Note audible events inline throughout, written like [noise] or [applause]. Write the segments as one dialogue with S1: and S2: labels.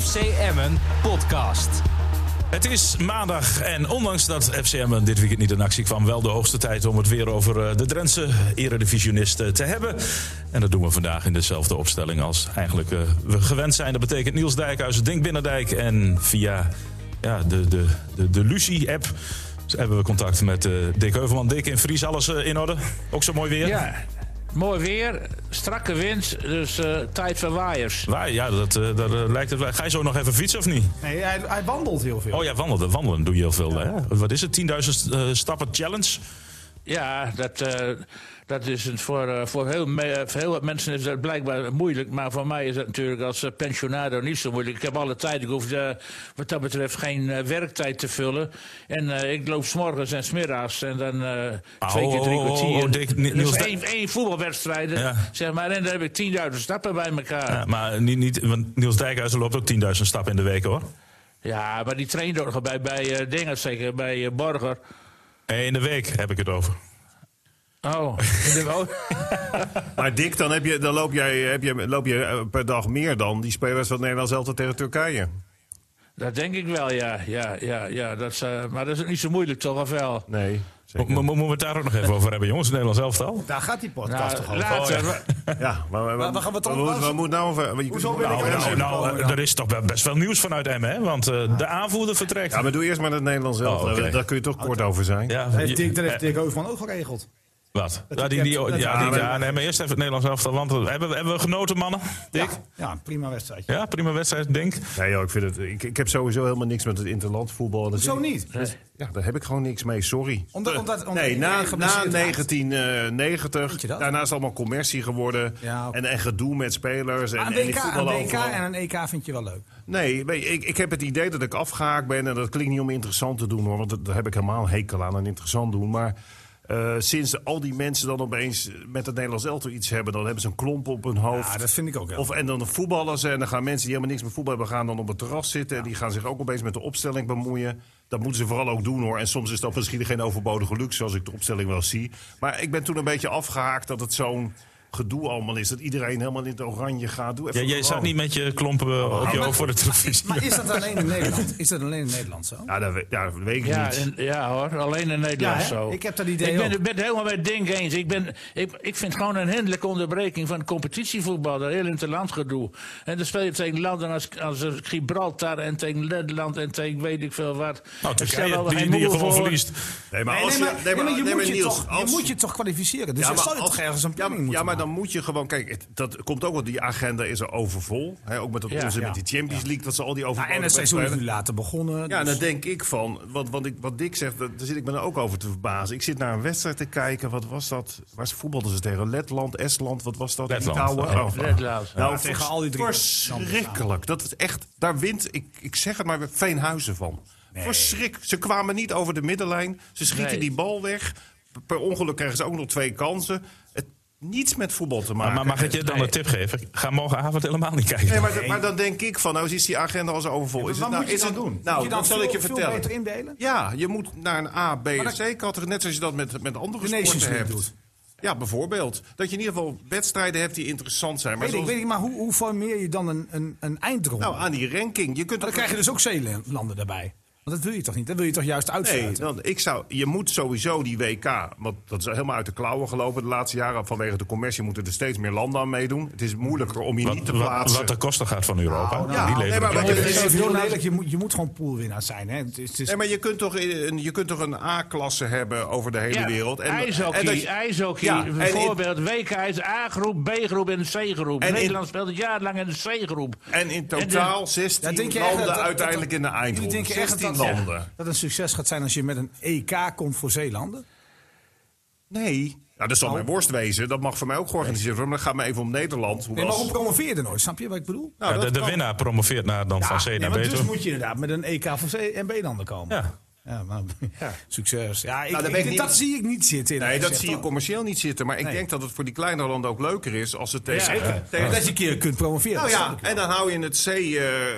S1: FC Emmen podcast.
S2: Het is maandag en ondanks dat FCM dit weekend niet in actie kwam... wel de hoogste tijd om het weer over eh, de Drentse eredivisionisten te hebben. En dat doen we vandaag in dezelfde opstelling als eigenlijk eh, we gewend zijn. Dat betekent Niels Dijkhuizen, Dink Binnendijk en via ja, de, de, de, de Lucie-app... hebben we contact met eh, Dick Heuvelman. Dick, in Fries alles eh, in orde? Ook zo mooi weer?
S3: Ja, mooi weer, strakke wind, dus eh, tijd voor waaiers.
S2: Waar- ja dat, eh, daar eh, lijkt het wel. Ga je zo nog even fietsen of niet?
S4: Nee, hij, hij wandelt heel veel.
S2: Oh ja, wandelen. Wandelen doe je heel veel. Hè? Wat is het? 10.000 eh, stappen challenge?
S3: Ja, dat, eh, dat is het voor, eh, voor, heel me- voor heel wat mensen is dat blijkbaar moeilijk. Maar voor mij is dat natuurlijk als eh, pensionado niet zo moeilijk. Ik heb alle tijd. Ik hoef eh, wat dat betreft geen eh, werktijd te vullen. En eh, ik loop 's morgens en 's middags en dan eh, twee
S2: oh,
S3: keer drie
S2: oh, oh,
S3: kwartier.
S2: oh, Dick, Ni- Niels,
S3: dus
S2: dat-
S3: één, één voetbalwedstrijd,
S2: Ja.
S3: zeg maar. En dan heb ik 10.000 stappen bij elkaar.
S2: Ja, maar niet, niet, want Niels Dijkhuizen loopt ook 10.000 stappen in de week hoor.
S3: Ja, maar die trainde ook nog bij, bij eh, dingen zeker, bij eh, Borger.
S2: Eh, In de week heb ik het over.
S3: Oh,
S4: [laughs]
S3: in de- oh.
S5: Maar Dick, dan, heb je, dan loop, jij, heb je, loop je eh, per dag meer dan die spelers van Nederland zelf tegen Turkije.
S3: Dat denk ik wel, ja. ja, ja, ja. Dat is, eh, maar dat is ook niet zo moeilijk, toch? Of wel?
S5: Nee.
S2: Mo- mo- Moeten we het daar ook nog even over hebben, jongens? Nederlands elftal?
S4: Daar gaat die podcast
S3: Nou,
S4: toch over.
S3: later.
S4: [laughs]
S5: Ja, maar, maar,
S4: we gaan wat
S5: wat
S4: anders.
S5: moet- wat moet nou over... je-
S4: Hoezo ben ik
S5: nou,
S2: Nou,
S4: er dan
S2: nou,
S4: even
S2: nou,
S4: over
S2: eh,
S4: dan?
S2: er is toch wel best wel nieuws vanuit Emmen, hè? Want eh, de aanvoerder vertrekt.
S5: Ja, maar doe eerst maar het Nederlands zelf.
S2: Oh, oké.
S5: Daar- Daar kun je toch kort over zijn.
S2: Ja,
S4: Heeft
S2: je-
S4: Dick, dat heeft
S2: eh,
S4: Dick Hoofdman ook geregeld.
S2: Wat?
S4: Dat
S2: Ja, die,
S4: hij
S2: die,
S4: kent.
S2: ja,
S4: Dat hij
S2: die-
S4: kent.
S2: ja, nee, maar eerst even het Nederlands elftal. Want eh, hebben, we- hebben we genoten, mannen? Dick?
S4: Ja, ja, prima wedstrijdje.
S2: Ja, prima wedstrijd, denk
S5: Nee joh, ik, vind het, ik, ik heb sowieso helemaal niks met het interland voetbal. Dat Dus,
S4: Zo niet.
S5: Ja, daar heb ik gewoon niks mee, sorry. Eh,
S4: Omdat, omdat, omdat
S5: nee, na,
S4: iedereen
S5: na
S4: geblesseerd raakt.
S5: 1990,
S4: Weet je dat?
S5: daarna is allemaal commercie geworden.
S4: Ja, oké.
S5: en, en gedoe met spelers. En,
S4: Aan
S5: en die
S4: WK, aan
S5: voetballen
S4: WK
S5: overal.
S4: en aan EK vind je wel leuk.
S5: Nee, weet je, ik, ik heb het idee dat ik afgehaakt ben. En dat klinkt niet om interessant te doen hoor. Want dat- daar heb ik helemaal een hekel aan, aan interessant doen. Maar eh, sinds al die mensen dan opeens met het Nederlands elftal iets hebben... dan hebben ze een klomp op hun hoofd.
S4: Ja, dat vind ik ook wel.
S5: Of, en dan voetballers en dan gaan mensen die helemaal niks met voetbal hebben... gaan dan op het terras zitten en die gaan zich ook opeens met de opstelling bemoeien. Dat moeten ze vooral ook doen hoor. En soms is dat misschien geen overbodige luxe zoals ik de opstelling wel zie. Maar ik ben toen een beetje afgehaakt dat het zo'n gedoe allemaal is. Dat iedereen helemaal in het oranje gaat. Doe even
S2: Jij, jij zat
S5: gewoon.
S2: niet met je klompen eh, op je oog voor de televisie.
S4: Maar is dat alleen in Nederland? Is dat alleen in Nederland zo?
S5: Ja, dat, we- ja, dat weet ik
S3: Ja,
S5: niet.
S3: en- ja hoor, alleen in Nederland
S4: Ja, hè?
S3: zo.
S4: Ik heb dat idee
S3: Ik ben,
S4: ook.
S3: ik ben het helemaal met Dink eens. Ik, ben, ik, ik vind het gewoon een hinderlijke onderbreking van competitievoetbal. Dat heel interland gedoe. En dan speel je tegen landen als, als Gibraltar en tegen Letland en tegen weet ik veel wat.
S2: Nou,
S3: En
S2: Turkije,
S3: stel wel
S2: die,
S3: geen
S2: die je
S3: moe
S2: gewoon
S3: voor.
S2: verliest.
S5: Nee, maar
S4: Nee,
S5: als
S4: nee,
S5: je-
S4: maar-
S5: nee,
S4: nee,
S5: maar-
S4: maar je
S5: nee, maar
S4: moet je
S5: Niels,
S4: toch- je
S5: als-
S4: moet je toch kwalificeren. Dus
S5: Ja,
S4: je
S5: maar
S4: zou je
S5: als-
S4: toch ergens een planning
S5: ja, maar-
S4: moeten
S5: Ja, maar dan
S4: maken.
S5: moet je gewoon... Kijk, het- dat komt ook, want die agenda is er overvol. Hè, ook met dat
S3: Ja,
S5: onzin
S3: ja.
S5: met die Champions League, dat ze al die
S4: Nou,
S5: overbodige
S4: en het seizoen is
S5: wedstrijden-
S4: nu later begonnen.
S5: Ja, nou,
S4: dus-
S5: dan denk ik van, want, want ik, wat Dick zegt, dat- daar zit ik me dan ook over te verbazen. Ik zit naar een wedstrijd te kijken, wat was dat? Waar ze voetbalden ze tegen? Letland, Estland, wat was dat?
S2: Letland.
S5: Litouwen?
S2: Ja.
S5: Oh,
S3: Letland.
S5: Nou,
S4: Ja, tegen
S5: vers-
S4: al die drie
S5: Verschrikkelijk. Dat is echt, daar wint, ik, ik zeg het maar, weer Veenhuizen van. Verschrik. Ze kwamen niet over de middenlijn, ze schieten
S3: Nee.
S5: die bal weg. Per ongeluk krijgen ze ook nog twee kansen. Het, niets met voetbal te maken.
S2: Maar mag ik je dan een tip geven? Ga morgenavond helemaal niet kijken.
S5: Nee, maar, maar dan denk ik van, nou is die agenda al zo overvol.
S4: Wat
S5: is het
S4: moet
S5: nou,
S4: je
S5: is
S4: dan
S5: het-
S4: doen? Moet
S5: Nou,
S4: je dan
S5: dat zal
S4: veel-
S5: ik je
S4: veel
S5: vertellen.
S4: beter indelen?
S5: Ja, je moet naar een A, B en
S4: dat-
S5: C-categorie. Net zoals je dat met, met andere
S4: De Nations
S5: sporten hebt.
S4: League doet.
S5: Ja, bijvoorbeeld. Dat je in ieder geval wedstrijden hebt die interessant zijn. Maar
S4: Weet ik,
S5: zoals-
S4: weet ik, maar hoe, hoe formeer je dan een, een, een eindronde?
S5: Nou, aan die ranking. Je kunt
S4: Maar dan krijg je dus ook zeelanden daarbij. Want dat wil je toch niet? Dat wil je toch juist
S5: Nee,
S4: uitsluiten?
S5: want ik zou, je moet sowieso die WK, want dat is helemaal uit de klauwen gelopen de laatste jaren. Vanwege de commercie moeten er steeds meer landen aan meedoen. Het is moeilijker om je
S2: Wat,
S5: niet te
S2: wat,
S5: plaatsen.
S2: wat de kosten gaat van Europa.
S5: ja,
S2: die
S5: nee,
S2: leveren
S5: maar
S2: het
S5: wat
S2: lekker
S5: je-
S2: in.
S5: is
S4: Even heel
S5: heel
S4: eerlijk, je moet, je moet gewoon poolwinnaar zijn. Hè? Het is, het is-
S5: Nee, maar je kunt toch een, je kunt toch een A-klasse hebben over de hele
S3: Ja,
S5: wereld.
S3: ijshockey,
S5: dat je-
S3: ijshockey.
S5: Ja, en-
S3: bijvoorbeeld WK is A-groep, B-groep en C-groep.
S5: En in-
S3: Nederland speelt een jaar lang in de C-groep.
S5: En in
S3: de-
S5: totaal 16
S4: Ja, denk je echt
S5: landen
S4: dat- dat-
S5: uiteindelijk in de
S4: jullie
S5: eindronde.
S4: denken echt
S5: 16 landen.
S4: dat- dat een succes gaat zijn als je met een EK komt voor zeelanden?
S5: Nee. Ja, dat
S4: Oh.
S5: zal mijn worst wezen. Dat mag voor mij ook georganiseerd worden. Maar dat gaat me even om Nederland. Hoe
S4: Nee, maar
S5: was-
S4: hoe promoveer je er nooit? Snap je wat ik bedoel?
S5: Nou,
S2: Ja,
S5: dat
S2: de, de
S5: kan.
S2: winnaar promoveert naar, dan van C
S4: nee,
S2: naar B
S4: maar dus
S2: toe.
S4: moet je inderdaad met een EK voor C en B-landen komen.
S2: Ja.
S4: Ja, nou, succes. Ja, ik,
S5: daar ben
S4: ik-
S5: Nou, ik
S4: dit-
S5: niet-
S4: dat zie ik niet zitten. eerlijk
S5: Nee, dat
S4: gezegd,
S5: zie je
S4: hoor.
S5: commercieel niet zitten. Maar ik
S4: Nee.
S5: denk dat het voor die kleinere landen ook leuker is als ze tegen...
S3: zeker.
S5: tegen- tegen-
S4: Dat je een keer kunt promoveren.
S5: nou
S4: dat snap
S5: ja,
S4: ik wel.
S5: en dan hou je in het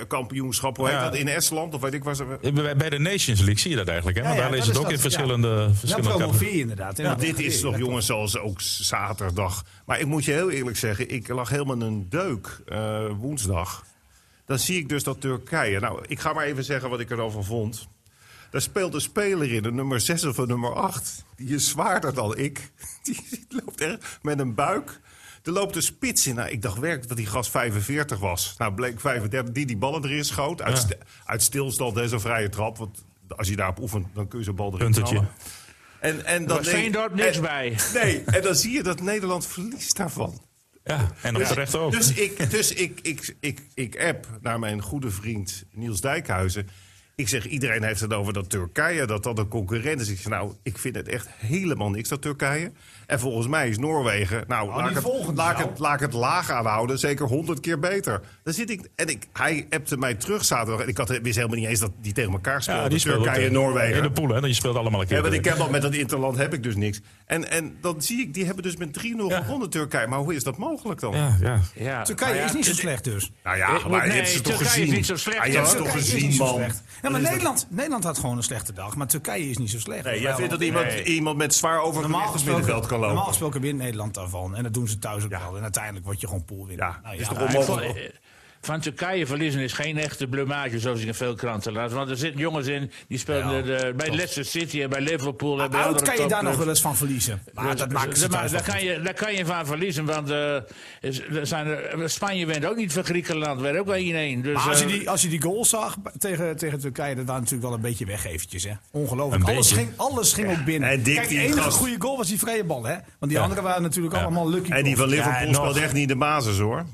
S5: C-kampioenschap. Hoe heet
S2: Ja.
S5: dat? In Estland of weet ik waar ze...
S2: Bij- Bij de Nations League zie je dat eigenlijk. Hè?
S4: Ja,
S2: Want
S4: ja,
S2: daar
S4: dat
S2: is het
S4: is
S2: ook in
S4: dat, ja.
S2: verschillende,
S4: Dan
S2: verschillende
S4: promoveer je inderdaad.
S5: Ja,
S4: inderdaad.
S5: dit is toch, jongens, zoals ook zaterdag. Maar ik moet je heel eerlijk zeggen, ik lag helemaal in een deuk eh, woensdag. Dan zie ik dus dat Turkije. Nou, ik ga maar even zeggen wat ik er al van vond. Daar speelt een speler in, een nummer 6 of een nummer 8. Die is zwaarder dan ik. [laughs] Die loopt echt met een buik. Er loopt een spits in. Nou, ik dacht werkelijk dat die gast 45 was. Nou, bleek 35. Die die ballen erin schoot. Uit, st- uit stilstand en zo'n vrije trap. Want als je daarop oefent, dan kun je zo'n bal erin
S2: Puntertje.
S5: knallen. En, en dan
S3: was Veendorp niks
S5: en-
S3: bij.
S5: [laughs] Nee, en dan zie je dat Nederland verliest daarvan.
S2: Ja, en op terecht ook.
S5: Dus, ik, dus ik, ik, ik, ik app naar mijn goede vriend Niels Dijkhuizen. Ik zeg, iedereen heeft het over dat Turkije, dat dat een concurrent is. Ik zeg, nou, ik vind het echt helemaal niks, dat Turkije. En volgens mij is Noorwegen, nou, laat, ik
S4: die
S5: het,
S4: volgende
S5: laat, ik
S4: jou.
S5: het, laat ik het laag aanhouden, zeker honderd keer beter. Dan zit ik, en ik, hij appte mij terug zaterdag. En ik had, wist helemaal niet eens dat die tegen elkaar speelden,
S2: speelt
S5: Turkije
S2: ook,
S5: en
S2: eh,
S5: Noorwegen.
S2: In de pool, hè? Je speelt allemaal een keer.
S5: Ja, want ik
S2: tegen.
S5: heb al met dat Interland heb ik dus niks. En, en dan zie ik, die hebben dus met 3-0
S2: Ja.
S5: gewonnen Turkije. Maar hoe is dat mogelijk dan?
S2: ja, ja.
S3: Ja,
S4: Turkije
S3: maar ja,
S4: is niet zo
S3: het-
S4: slecht dus.
S5: Nou ja,
S3: Ik-
S5: maar je
S3: nee,
S5: hebt ze toch
S3: Turkije
S5: gezien.
S3: is niet zo slecht,
S5: Ah, je hebt ze
S3: hoor.
S5: toch
S4: Turkije is
S5: gezien,
S4: niet zo
S5: man.
S4: slecht. Ja, maar Nederland, Nederland had gewoon een slechte dag. Maar Turkije is niet zo slecht.
S5: Nee, jij vindt dat iemand,
S3: Nee.
S5: iemand met zwaar overgewicht het middenveld kan
S4: normaal
S5: lopen.
S4: gesproken wint Nederland daarvan. En dat doen ze thuis ook wel. En uiteindelijk word je gewoon poolwinnaar.
S5: Ja,
S4: Nou
S5: is toch
S3: Ik vond,
S5: Mogelijk.
S3: eh, Van Turkije verliezen is geen echte blumage, zoals ik in veel kranten laat. Want er zitten jongens in die spelen
S4: Ja,
S3: eh, de- bij Leicester City en bij Liverpool. En bij
S4: Oud
S3: andere
S4: kan je daar nog
S3: topclubs.
S4: wel eens van verliezen. Maar
S3: Dus-
S4: dat maakt ze
S3: maar
S4: thuis
S3: daar,
S4: wel
S3: kan
S4: goed.
S3: je, daar kan je van verliezen, want eh, is- er zijn er- Spanje wint ook niet van Griekenland, werd ook wel 1-1. Dus,
S4: Maar als je,
S3: eh,
S4: die, als je die goal zag b- tegen, tegen Turkije, dat waren natuurlijk wel een beetje weg eventjes. Hè? Ongelooflijk.
S2: Een
S4: Alles
S2: beetje.
S4: ging, alles ging ook binnen.
S5: En Dick,
S4: Kijk, de
S5: die
S4: enige
S5: gast-
S4: goede goal was die vrije bal. Hè? Want die andere waren natuurlijk allemaal lucky
S5: En die van
S4: goals.
S5: Liverpool
S2: Ja, nog.
S5: speelt echt niet de basis, hoor.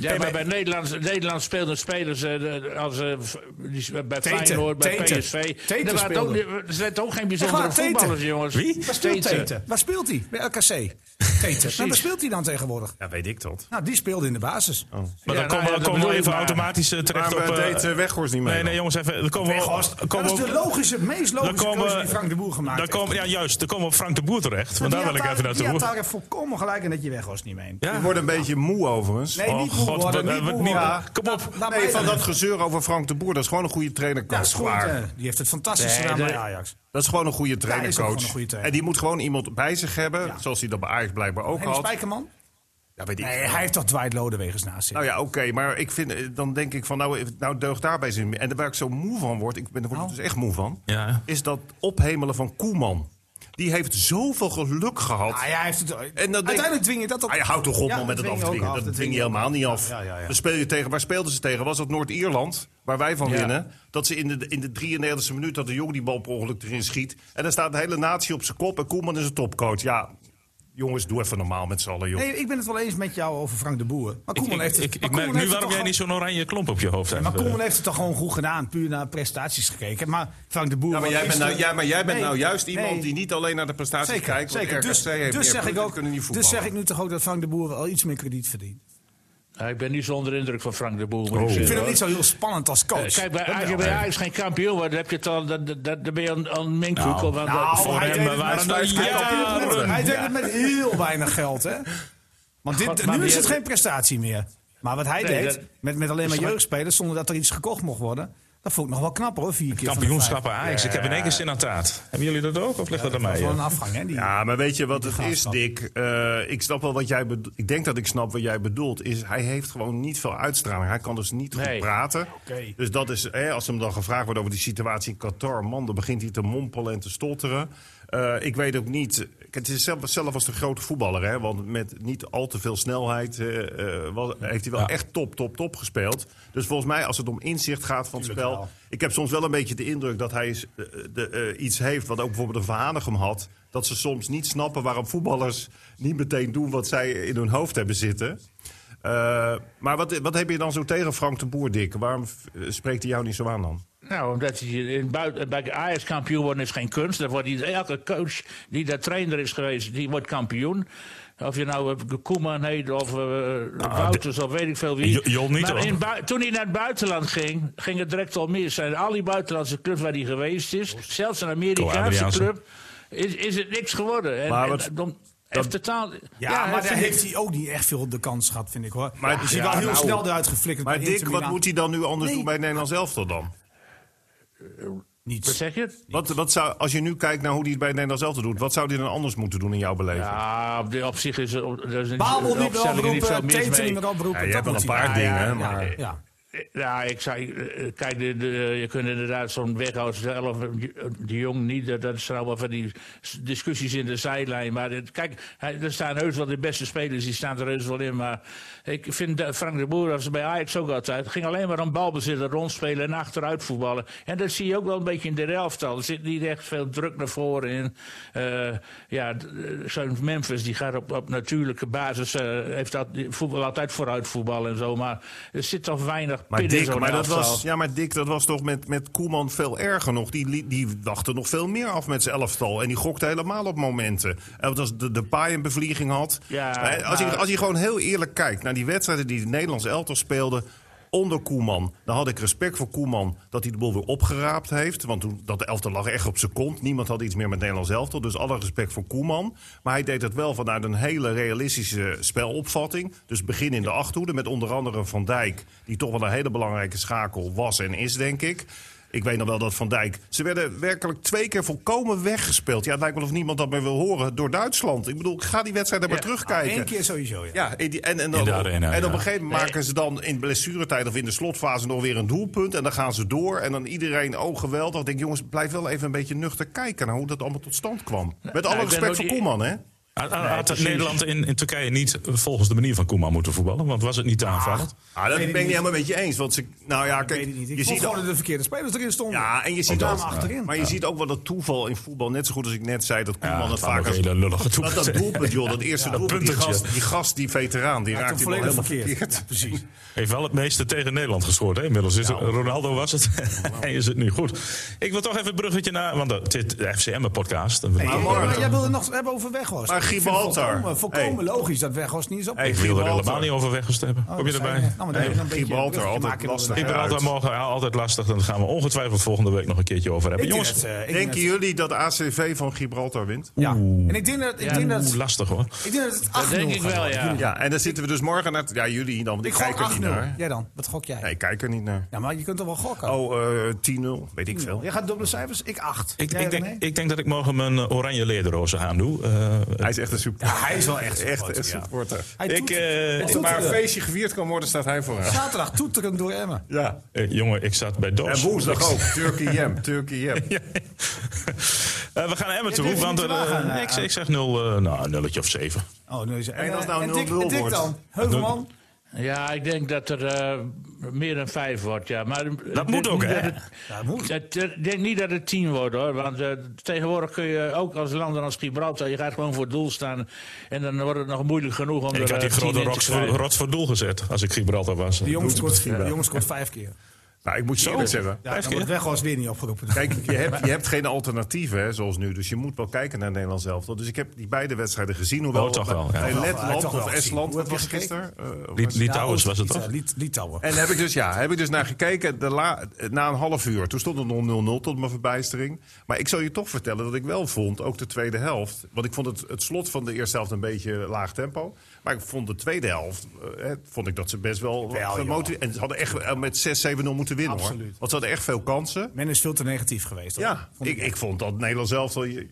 S3: ja, maar bij Nederland, Nederland speelden spelers eh, de- als, eh, v- die s- bij
S4: Tete,
S3: Feyenoord, bij
S4: Tete.
S3: PSV.
S4: Tete
S3: Er waren ook,
S4: speelde.
S3: niet- er zijn ook geen
S4: Echt
S3: bijzondere
S4: waar, Tete.
S3: voetballers, jongens.
S2: Wie?
S4: Waar speelt Tete? Waar speelt hij? Bij
S3: [laughs]
S4: LKC. Tete. Maar waar Nou, speelt hij dan tegenwoordig?
S5: Ja, weet ik dat.
S4: Nou, die speelde in de basis.
S2: Maar
S3: Ja,
S2: dan komen
S3: nou
S2: we,
S3: ja, dat
S2: komen we
S3: bedoel ik
S2: even
S3: maar.
S2: automatisch eh, terecht
S5: Maar
S2: op...
S5: we
S2: eh,
S5: deed, eh, Weghorst niet mee
S2: Nee, nee,
S5: dan.
S2: jongens, even. Dan komen we,
S4: Weghorst.
S2: komen
S4: dat is
S2: we-
S4: de logische, meest
S2: dan
S4: logische
S2: komen,
S4: keuze die
S2: we-
S4: Frank de Boer gemaakt
S2: dan
S4: heeft.
S2: komen, Ja, juist. Dan komen we op Frank de Boer terecht. Want daar
S4: Die
S2: wil ik
S4: had
S2: even
S4: daar-
S2: naartoe.
S4: Die had daar echt volkomen gelijk in dat je Weghorst niet meent.
S5: Ik
S2: Ja.
S5: word een beetje moe, overigens.
S4: Nee, niet moe
S2: Oh, God,
S4: worden,
S2: we-
S4: niet
S2: we-
S4: moe
S2: niet-
S4: worden.
S2: kom op.
S4: Laat- laat
S5: Nee,
S4: mij
S5: van
S4: dan.
S5: dat gezeur over Frank de Boer. Dat is gewoon een goede
S4: Ja,
S5: trainercoach.
S4: is goed,
S5: Klaar.
S4: hè. Die heeft het fantastisch
S3: Nee,
S4: gedaan bij
S3: dat-
S2: Oh,
S4: Ajax.
S5: Dat is gewoon een goede
S4: is ook gewoon
S5: trainercoach.
S4: een goede trainer.
S5: En die moet gewoon iemand bij zich hebben,
S4: Ja.
S5: zoals hij dat bij Ajax blijkbaar ook
S4: En
S5: had.
S4: Spijkerman?
S5: Ja, weet ik.
S4: Nee, hij heeft toch Dwight Lodewegens naast zich.
S5: Nou ja, oké, maar ik vind, eh, dan denk ik van, nou, eh, nou deugt daarbij zin. En waar ik zo moe van word, ik ben, daar word ik
S4: Nou.
S5: dus echt moe van,
S2: Ja.
S5: is dat ophemelen van Koeman. Die heeft zoveel geluk gehad.
S4: Ah, ja, hij heeft het,
S5: denk-
S4: uiteindelijk dwing je dat
S2: Ah,
S4: op.
S5: Hij houdt toch op
S4: Ja,
S5: man, met
S4: dat
S5: het
S4: dwing je ook
S5: afdwingen.
S4: af,
S5: dat
S4: dat
S5: dwing je
S4: dwing je
S5: helemaal niet af.
S4: Ja, ja, ja.
S5: Dan speel je tegen, waar speelden ze tegen? Was dat Noord-Ierland, waar wij van
S3: Ja.
S5: winnen? Dat ze in de, in de 93e minuut dat de jong die bal per ongeluk erin schiet. En dan staat de hele natie op zijn kop en Koeman is een topcoach. Ja, jongens, doe even normaal met z'n allen, joh.
S4: Nee, ik ben het wel eens met jou over Frank de Boer. Maar
S2: Ik,
S4: Koeman
S2: ik,
S4: heeft het,
S2: ik, ik
S4: maar
S2: merk
S4: Koeman
S2: nu
S4: heeft het
S2: waarom
S4: toch
S2: jij niet zo'n oranje klomp op je hoofd hebt.
S4: gewoon- Maar
S2: eh.
S4: Koeman heeft het toch gewoon goed gedaan, puur naar prestaties gekeken. Maar Frank de Boer...
S5: Ja, maar, jij
S4: was
S5: bent nou,
S4: gisteren-
S5: ja, maar jij bent
S4: Nee,
S5: nou juist iemand
S4: nee.
S5: die niet alleen naar de prestaties
S4: Zeker,
S5: kijkt. want
S4: zeker.
S5: RKC
S4: Dus,
S5: heeft
S4: dus,
S5: meer
S4: zeg ik
S5: punten,
S4: ook,
S5: kunnen niet
S4: dus zeg ik
S5: voetballen.
S4: nu toch ook dat Frank de Boer wel iets meer krediet verdient.
S3: Ja, ik ben niet zo onder indruk van Frank de Boer. moet
S4: Oh. Ik
S3: zeggen,
S4: vind hem
S3: hoor.
S4: niet zo heel spannend als coach.
S3: Eh, Kijk, bij,
S4: Dat
S3: als je
S4: wel.
S3: bij Ajax geen kampioen wordt, dan, heb je het al, dan, dan, dan ben je aan, aan minkoek.
S2: Nou,
S3: want
S4: Nou,
S3: dat-
S2: voor
S4: hij
S2: hem
S4: deed het
S2: waren er
S4: met- hij deed het
S2: jaren.
S4: met- Hij deed het met heel weinig geld, hè? Want dit,
S3: God, maar
S4: nu
S3: wie
S4: is het
S3: heeft-
S4: geen prestatie meer. Maar wat hij
S3: Nee,
S4: deed,
S3: dat-
S4: met, met alleen maar
S3: maar-
S4: jeugdspelers, zonder dat er iets gekocht mocht worden, dat vond ik nog wel knap hoor. Vier keer van de
S2: Kampioenschappen Ajax. Ik heb in één keer zin aan taart. Hebben jullie dat ook? Of ligt dat aan
S4: vijf.
S2: mij?
S4: Dat is wel een
S2: eh?
S4: afgang, hè? Die,
S5: Ja, maar weet je wat het is,
S4: graafschap.
S5: Dick? Eh, ik snap wel wat jij bedo- Ik denk dat ik snap wat jij bedoelt. Is, hij heeft gewoon niet veel uitstraling. Hij kan dus niet goed
S3: Nee.
S5: praten.
S4: Oké.
S5: Dus dat is, hè, als hem dan gevraagd wordt over die situatie in Qatar, man, dan begint hij te mompelen en te stotteren. Eh, ik weet ook niet. Kijk, Het is zelf, zelf als de grote voetballer, hè, want met niet al te veel snelheid eh, eh, was- heeft hij wel
S2: Ja.
S5: echt top, top, top gespeeld. Dus volgens mij, als het om inzicht gaat van het spel.
S4: wel.
S5: Ik heb soms wel een beetje de indruk dat hij is, eh, de, eh, iets heeft wat ook bijvoorbeeld een Verhanigem had. Dat ze soms niet snappen waarom voetballers niet meteen doen wat zij in hun hoofd hebben zitten. Eh, maar wat, wat heb je dan zo tegen Frank de Boer, Dick? Waarom eh, spreekt hij jou niet zo aan dan?
S3: Nou, omdat hij in buiten, bij Ajax kampioen worden is geen kunst. Dat wordt niet, elke coach die daar trainer is geweest, die wordt kampioen. Of je nou eh, Koeman heet of eh, Wouters of weet ik veel wie.
S2: Jo- Jon niet,
S3: maar
S2: hoor.
S3: in bui- toen hij naar het buitenland ging, ging het direct al mis. En al die buitenlandse clubs waar hij geweest is, zelfs een
S2: Ko
S3: Amerikaanse
S2: Adriaanse.
S3: club, is, is het niks geworden. En,
S5: Maar
S3: en
S5: wat-
S3: dan- heeft totaal,
S4: Ja, maar daar heeft hij ook niet echt veel de kans gehad, vind ik hoor.
S5: Maar-
S4: Maar, is hij
S5: ja,
S4: wel heel
S5: nou.
S4: snel eruit geflikkerd.
S5: Maar
S4: bij
S5: Dick,
S4: Inter
S5: wat
S4: Milaan.
S5: moet hij dan nu anders
S4: Nee.
S5: doen bij het Nederlands elftal dan?
S3: Wat
S4: Niets.
S3: zeg je?
S5: Wat, wat zou, als je nu kijkt naar hoe hij het bij het Nederlands elftal doet, wat zou hij dan anders moeten doen in jouw beleving?
S3: Ja, op, de- op zich is er, er is een
S4: Babel niet meer
S3: opstelling er niet veel
S4: oproepen,
S3: mis
S4: Teten
S3: mee.
S4: niet meer oproepen.
S5: Ja, je
S4: dat
S5: hebt wel een
S4: moet hij-
S5: paar
S4: Ja,
S5: dingen,
S4: ja,
S5: maar-
S4: ja.
S3: Ja, ik zei, eh, kijk, de, de- je kunt inderdaad zo'n weghouden zelf, eh, de jong niet, dat, dat zijn allemaal van die s- discussies in de zijlijn. Maar dit- kijk, hij- er staan heus wel de beste spelers, die staan er heus wel in. Maar ik vind dat Frank de Boer, als bij Ajax ook altijd, ging alleen maar om balbezitten, rondspelen en achteruit voetballen. En dat zie je ook wel een beetje in de elftal. Er zit niet echt veel druk naar voren in. Eh, ja, d- eh, zo'n Memphis, die gaat op, op natuurlijke basis, eh, heeft dat, die voetbal altijd vooruit voetballen en zo. Maar er zit toch weinig
S5: Maar
S3: Pin in
S5: Dick,
S3: zo'n
S5: maar dat
S3: elftal.
S5: was, ja, maar Dick, dat was toch met, met Koeman veel erger nog. Die, li- die wachtte nog veel meer af met zijn elftal. En die gokte helemaal op momenten. En wat als de, de paai een bevlieging had.
S3: Ja,
S5: Hè, als, je,
S3: maar-
S5: als je gewoon heel eerlijk kijkt naar die wedstrijden die het Nederlands elftal speelde. Onder Koeman, dan had ik respect voor Koeman dat hij de boel weer opgeraapt heeft. Want toen, dat elftal lag echt op zijn kont. Niemand had iets meer met Nederlands elftal. Dus alle respect voor Koeman. Maar hij deed het wel vanuit een hele realistische spelopvatting. Dus begin in de achterhoede met onder andere Van Dijk. Die toch wel een hele belangrijke schakel was en is, denk ik. Ik weet nog wel dat Van Dijk. Ze werden werkelijk twee keer volkomen weggespeeld. Ja, het lijkt wel of niemand dat meer wil horen door Duitsland. Ik bedoel, ik ga die wedstrijd maar
S3: Ja.
S5: terugkijken.
S4: Eén keer sowieso, ja.
S5: Ja, en, die- en, en, dan,
S2: In de arena,
S5: en op
S2: ja.
S5: een gegeven moment maken ze dan in blessuretijd of in de slotfase nog weer een doelpunt. En dan gaan ze door. En dan iedereen, oh geweldig. Ik denk, jongens, blijf wel even een beetje nuchter kijken naar hoe dat allemaal tot stand kwam. Met alle
S3: ik ben
S5: respect
S3: ook
S5: voor
S3: die-
S5: Koeman, hè?
S2: Had- had- had
S3: precies.
S2: Nederland in, in Turkije niet volgens de manier van Koeman moeten voetballen? Want was het niet te aanvallend?
S5: Ah, dat ben ik
S4: ik
S5: niet
S4: niet.
S5: helemaal met je eens. Want ze, nou ja,
S4: Ik
S5: kijk,
S4: weet het niet. Ik
S5: je
S4: vond
S5: ziet
S4: gewoon dat de verkeerde spelers erin stonden.
S5: Ja, en je ziet
S2: dat,
S5: ook,
S4: ja. achterin.
S5: Maar je ziet ook wel dat toeval in voetbal, net zo goed als ik net zei, dat Koeman
S2: het
S5: het
S2: waren
S5: vaak
S2: ook
S5: als...
S2: hele lullige
S5: Dat, dat
S2: toepassingen.
S5: doelpunt, joh, dat eerste
S2: Ja, dat
S5: doelpunt. Die
S2: puntertje.
S5: gast, die gast, die veteraan, die raakt
S4: Raakt
S5: die
S4: hem
S5: bal helemaal
S4: volledig
S5: verkeerd.
S4: verkeerd. Ja, precies.
S2: Heeft wel het meeste tegen Nederland gescoord, hè? Inmiddels is
S4: Nou.
S2: het, Ronaldo was het. [laughs] Hij is het nu goed. Ik wil toch even het bruggetje naar. Want dat- dit de FCM-podcast.
S5: maar
S4: Ja, maar
S5: morgen-
S4: jij wilde het nog hebben over Weghorst.
S5: Maar
S4: Ik vind het
S5: Gibraltar.
S4: Volkomen, volkomen
S5: Hey.
S4: logisch dat Weghorst niet is op.
S5: Hey,
S2: ik wil er
S5: Gibraltar.
S2: helemaal niet over weggesteppen. Kom je erbij?
S4: Nou, maar dan even een beetje
S5: Gibraltar,
S4: bruggetje
S5: altijd
S4: maken door
S5: lastig.
S4: de-
S2: Gibraltar
S5: uit.
S2: morgen ja, altijd lastig. Dan gaan we ongetwijfeld volgende week nog een keertje over hebben.
S4: Ik denk
S2: Jongens,
S4: dat, eh, ik denk
S5: Denken jullie dat ACV van Gibraltar wint?
S4: dat- Ja. En ik denk dat, ik denk dat,
S2: oeh, lastig hoor.
S4: ik denk dat het 8-0
S3: Dat denk ik
S4: gaat
S3: wel,
S4: worden.
S3: ja.
S5: Ja, en dan zitten we dus morgen naar... Ja, jullie dan, want ik,
S4: Ik
S5: kijk
S4: gok
S5: er niet
S4: 8-0.
S5: naar.
S4: Jij dan? Wat gok jij?
S5: Nee, ik kijk er niet naar.
S4: Ja, maar je kunt toch wel gokken?
S5: Oh, eh 10-0, weet ik veel.
S4: Jij gaat dubbele cijfers? Ik 8.
S2: Ik, ik, denk, ik denk dat ik morgen mijn eh, oranje lederozen aandoe. Eh,
S5: Hij is echt een supporter.
S4: Ja, hij is wel echt een
S5: echt een
S4: supporter, ja.
S5: supporter.
S4: Hij
S2: ik,
S4: toetert.
S2: eh,
S4: Hij
S2: ik-
S4: toetert.
S5: Waar een feestje gevierd kan worden, staat hij vooraan.
S4: Zaterdag toeteren door Emmen.
S5: Ja.
S2: eh, jongen, ik zat bij
S5: En
S2: Doos.
S5: woensdag ook. Turkey [laughs] Jam, Turkey Jam.
S2: Ja. Eh, we gaan naar Emmen toe.
S4: durft
S2: Want,
S4: niet te
S2: eh,
S4: wagen,
S2: ik, ik zeg nul, eh, nou, een nulletje of zeven.
S4: Oh, nu is
S5: En als het nou
S4: eh, en Dick-
S5: 0-0
S4: en Dick
S5: wordt?
S4: dan? Heuvelman?
S3: Ja, ik denk dat er eh, meer dan vijf wordt, ja. Maar eh, ik denk
S2: moet ook,
S3: niet
S2: hè?
S3: dat het-
S4: Ja, moet.
S3: het- eh, Ik denk niet dat het tien wordt, hoor. Want eh, tegenwoordig kun je ook als landen als Gibraltar... je gaat gewoon voor het doel staan en dan wordt het nog moeilijk genoeg
S2: Ik
S3: om er,
S2: had die
S3: eh, 10
S2: grote
S3: in te
S2: rots voor,
S3: krijgen.
S2: rots voor doel gezet als ik Gibraltar was.
S4: De jongen
S5: Doet het
S4: scoort-
S5: misschien wel.
S4: de jongen scoort vijf keer.
S5: Nou, ik moet je eerlijk zeggen.
S4: Ja, dan wordt Weghorst weer niet opgeroepen.
S5: Kijk, je hebt, je hebt geen alternatieven, hè, zoals nu. Dus je moet wel kijken naar Nederland zelf. Dus ik heb die beide wedstrijden gezien. Hoewel
S2: Oh, toch wel, ja.
S5: bij
S4: Toch wel, ja,
S5: Letland
S4: toch wel
S5: of
S4: gezien.
S5: Estland,
S4: Hoe
S5: wat
S4: heb je
S5: was het
S4: gekeken?
S5: gisteren? Eh,
S2: Li- Litouwens was het toch?
S4: Liet- Litouwen.
S5: En heb ik dus, ja, heb ik dus naar gekeken de la- na een half uur. Toen stond het 0-0-0 tot mijn verbijstering. Maar ik zal je toch vertellen dat ik wel vond, ook de tweede helft. Want ik vond het, het slot van de eerste helft een beetje laag tempo. Maar ik vond de tweede helft, eh, hè, vond ik dat ze best wel,
S4: Wel,
S5: gemotiveerd... En ze hadden echt eh, met 6-7-0 moeten winnen hoor.
S4: Absoluut.
S5: Want ze hadden echt veel kansen.
S4: Men is veel te negatief geweest. hoor.
S5: Ja,
S4: Vond
S5: ik, ik vond dat Nederland zelf wel... Ja,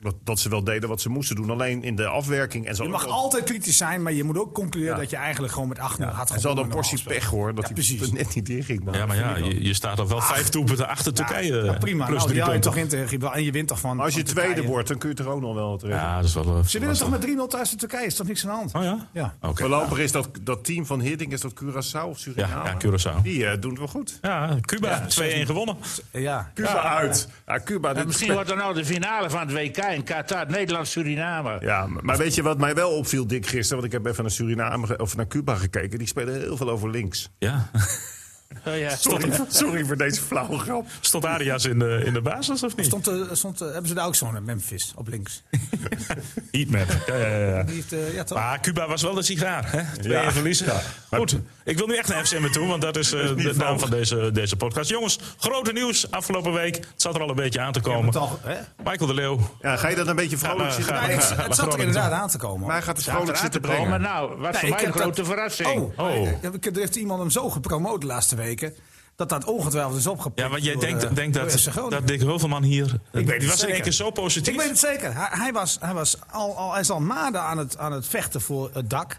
S5: dat, dat ze wel deden wat ze moesten doen. Alleen in de afwerking. En ze
S4: Je
S5: hadden
S4: mag
S5: ook-
S4: altijd kritisch zijn, maar je moet ook concluderen dat je eigenlijk gewoon met 8-0 had
S5: en ze hadden een
S4: gewonnen
S5: portie
S4: normaal
S5: pech hoor, dat
S4: Ja,
S5: die
S4: precies.
S5: net niet inging. man.
S2: Ja, maar ja, je, je staat al wel vijf doelpunten achter Turkije. eh,
S4: gespeeld. Ja, prima.
S2: Plus
S4: Nou, die
S2: drie
S4: haal je
S2: punten.
S4: toch in tegen Gibraltar en je wint toch van.
S5: Maar Als je
S4: van
S5: tweede
S4: Turkije.
S5: wordt, dan kun je er ook nog wel terecht.
S2: Ja, dat is wel... eh,
S4: Ze winnen toch met 3-0 thuis de Turkije? Is toch niks aan de hand?
S2: Oh ja?
S4: Ja.
S2: Oké.
S5: Voorlopig is dat, dat team van Hiddink, is dat Curaçao of Suriname?
S2: Ja, ja, Curaçao.
S5: Die eh, doen het wel goed.
S2: Ja, Cuba, 2-1 gewonnen.
S4: Ja.
S5: Cuba uit. Ja, Cuba.
S3: En
S5: dit-
S3: misschien wordt er nou de finale van het WK in Qatar, Nederland-Suriname.
S5: Ja, maar weet je wat mij wel opviel, Dick, gisteren? Want ik heb even naar Suriname ge- of naar Cuba gekeken. Die spelen heel veel over links.
S2: Ja.
S3: Oh, ja.
S5: Sorry, sorry voor deze flauwe grap.
S2: Stond Arias in de, in de basis of niet?
S4: Stond, eh, stond, eh, hebben ze daar ook zo'n Memphis op links?
S2: Heatmap. Ja, ja, ja. ja.
S4: Die heeft, eh, ja, toch?
S2: Maar Ah, Cuba was wel de sigaar. Hè? Twee
S5: Ja.
S2: verliezen. Goed, ik wil nu echt naar FCM toe, want dat is eh, de naam van deze, deze podcast. Jongens, grote nieuws afgelopen week. Het zat er al een beetje aan te komen.
S4: Toch, hè?
S2: Michael de Leeuw.
S5: Ja, ga je dat een beetje vrolijk
S2: Ja,
S5: zitten
S2: ga-
S5: brengen?
S4: Nee, het-
S2: maar
S4: het zat er
S2: Groningen
S4: inderdaad aan te komen.
S5: Maar hij gaat het vrolijk
S3: Aan te
S5: zitten
S3: komen.
S5: brengen.
S3: nou, wat voor
S4: Nee,
S3: mij
S4: ik
S3: een
S4: heb
S3: grote
S4: dat-
S3: verrassing.
S4: Oh,
S2: Oh.
S4: ja, ik- Er heeft iemand hem zo gepromoot de laatste weken. Dat dat ongetwijfeld is opgepikt.
S2: Ja, want jij
S4: door,
S2: denkt,
S4: eh,
S2: denkt
S4: door
S2: dat,
S4: SC Groningen.
S2: dat Dick Hulverman hier... Ik
S4: weet
S2: die
S4: het
S2: was in één
S4: zeker.
S2: keer zo positief.
S4: Ik weet het zeker. Hij, hij was, hij was al, al, hij is al maanden aan het, aan het vechten voor het dak.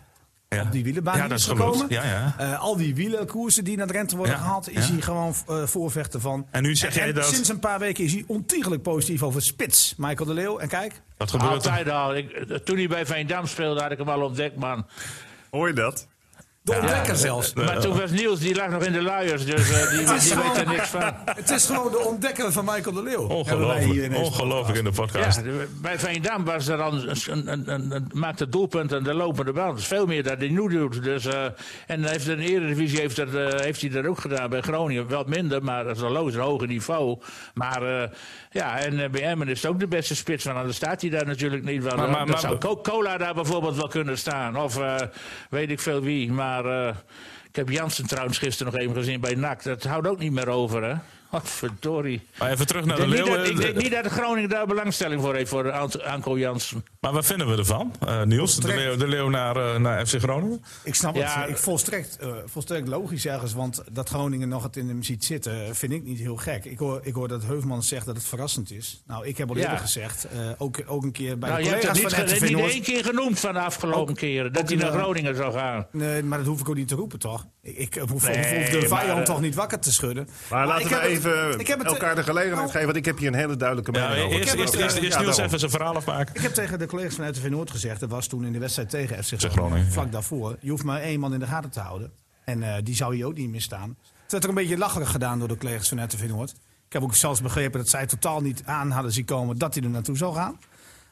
S2: Ja.
S4: op die wielenbaan
S2: Ja,
S4: die
S2: dat
S4: is
S2: is gelukt.
S4: gekomen.
S2: Ja, ja.
S4: Eh, al die wielenkoersen die naar Drenthe worden
S2: Ja,
S4: gehaald, is
S2: ja.
S4: hij gewoon eh, voorvechter van.
S2: En nu zeg jij dat-
S4: Sinds een paar weken is hij ontiegelijk positief over spits, Michael de Leeuw. En kijk,
S2: Wat gebeurt er?
S3: Altijd al. Ik, eh, toen hij bij Veendam speelde, had ik hem al ontdekt, man.
S5: Hoor je dat?
S4: de ontdekker zelfs.
S3: Maar toen was Niels, die lag nog in de luiers, dus eh, die, die weet er niks van.
S4: Het is gewoon de ontdekker van Michael de Leeuw. Hebben wij hier
S2: Ongelooflijk.
S4: ineens.
S2: Ongelooflijk in de podcast.
S3: Ja, de- bij Veendam was er dan een, een, een, een, maakte doelpunt en de lopende bal. Dat is veel meer dan hij nu doet. Dus, eh, en hij heeft in de Eredivisie heeft, dat, eh, heeft hij dat ook gedaan bij Groningen. Wel minder, maar dat is een loos, een hoger niveau. Maar eh, ja, en eh, bij Emmen is het ook de beste spits. Want anders staat hij daar natuurlijk niet. Want,
S2: Maar-
S3: eh,
S2: maar-
S3: dan
S2: maar-
S3: zou Coca-Cola daar bijvoorbeeld wel kunnen staan. Of eh, weet ik veel wie. Maar eh, ik heb Jansen trouwens gisteren nog even gezien bij NAC. Dat houdt ook niet meer over, hè. Wat verdorie.
S2: Maar even terug naar de eh,
S3: Ik denk, niet
S2: Leeuwen.
S3: dat, ik denk niet dat Groningen daar belangstelling voor heeft, voor de Ant- Anko Jansen.
S2: Maar wat vinden we ervan, Eh, Niels? De
S4: Terecht.
S2: Leeuw, de Leeuw naar, eh, naar FC Groningen?
S4: Ik snap
S3: Ja,
S4: het. Ik volstrekt, eh, volstrekt logisch ergens. Want dat Groningen nog het in hem ziet zitten, eh, vind ik niet heel gek. Ik hoor, ik hoor dat Heuvelman zegt dat het verrassend is. Nou, ik heb al
S3: Ja.
S4: eerder gezegd, eh, ook, ook een keer bij
S3: Nou,
S4: de
S3: je hebt het
S4: collega's
S3: niet,
S4: van
S3: ge-
S4: RTV
S3: niet
S4: Noord.
S3: één keer genoemd van de afgelopen keren. Dat
S4: ook
S3: hij
S4: in
S3: naar
S4: de-
S3: Groningen zou gaan.
S4: Nee, maar dat hoef ik ook niet te roepen, toch? Ik, ik hoef, hoef
S3: Nee,
S4: de
S3: maar,
S4: vijand
S3: eh,
S4: toch niet wakker te schudden.
S5: Maar, laten
S4: ik
S5: we
S4: heb het-
S5: even
S4: ik heb het, eh,
S5: elkaar de gelegenheid
S4: nou,
S5: geven. Want ik heb hier een hele duidelijke
S2: Ja,
S5: mening over.
S2: eerst,
S4: heb
S2: eerst,
S4: het,
S2: eerst,
S4: eh,
S2: eerst
S5: ja,
S2: Niels
S5: daarom.
S2: even zijn verhaal afmaken.
S4: Ik heb tegen de collega's van RTV Noord gezegd, dat was toen in de wedstrijd tegen FC Groningen,
S2: Groningen,
S4: vlak daarvoor. Je hoeft maar één man in de gaten te houden. En eh, die zou je ook niet misstaan. Het werd er een beetje lacherig gedaan door de collega's van RTV Noord. Ik heb ook zelfs begrepen dat zij totaal niet aan hadden zien komen dat hij er naartoe zou gaan.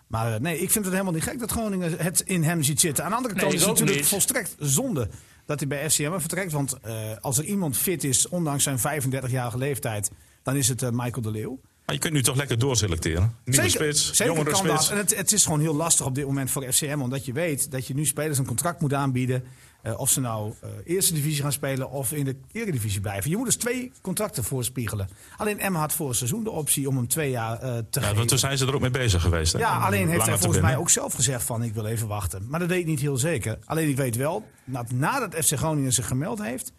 S4: Maar eh, nee, ik vind het helemaal niet gek dat Groningen het in hem ziet zitten. Aan de andere
S3: Nee,
S4: kant
S3: ik
S4: is het
S3: ook
S4: natuurlijk
S3: niet.
S4: volstrekt zonde dat hij bij FCM vertrekt. Want eh, als er iemand fit is, ondanks zijn 35-jarige leeftijd, dan is het eh, Michael de Leeuw.
S2: Maar je kunt nu toch lekker doorselecteren. Nieuwe spits,
S4: zeker
S2: jongere
S4: kan
S2: spits.
S4: dat. En het, het is gewoon heel lastig op dit moment voor FCM. Omdat je weet dat je nu spelers een contract moet aanbieden. eh, of ze nou eh, eerste divisie gaan spelen of in de eredivisie blijven. Je moet dus twee contracten voorspiegelen. Alleen Emma had voor het seizoen de optie om hem twee jaar eh, te
S2: Ja,
S4: geven.
S2: want toen zijn ze er ook mee bezig geweest. Hè?
S4: Ja,
S2: Om
S4: alleen heeft
S2: langer
S4: hij
S2: te
S4: volgens
S2: binden.
S4: mij ook zelf gezegd van ik wil even wachten. Maar dat weet ik niet heel zeker. Alleen ik weet wel dat nadat FC Groningen zich gemeld heeft...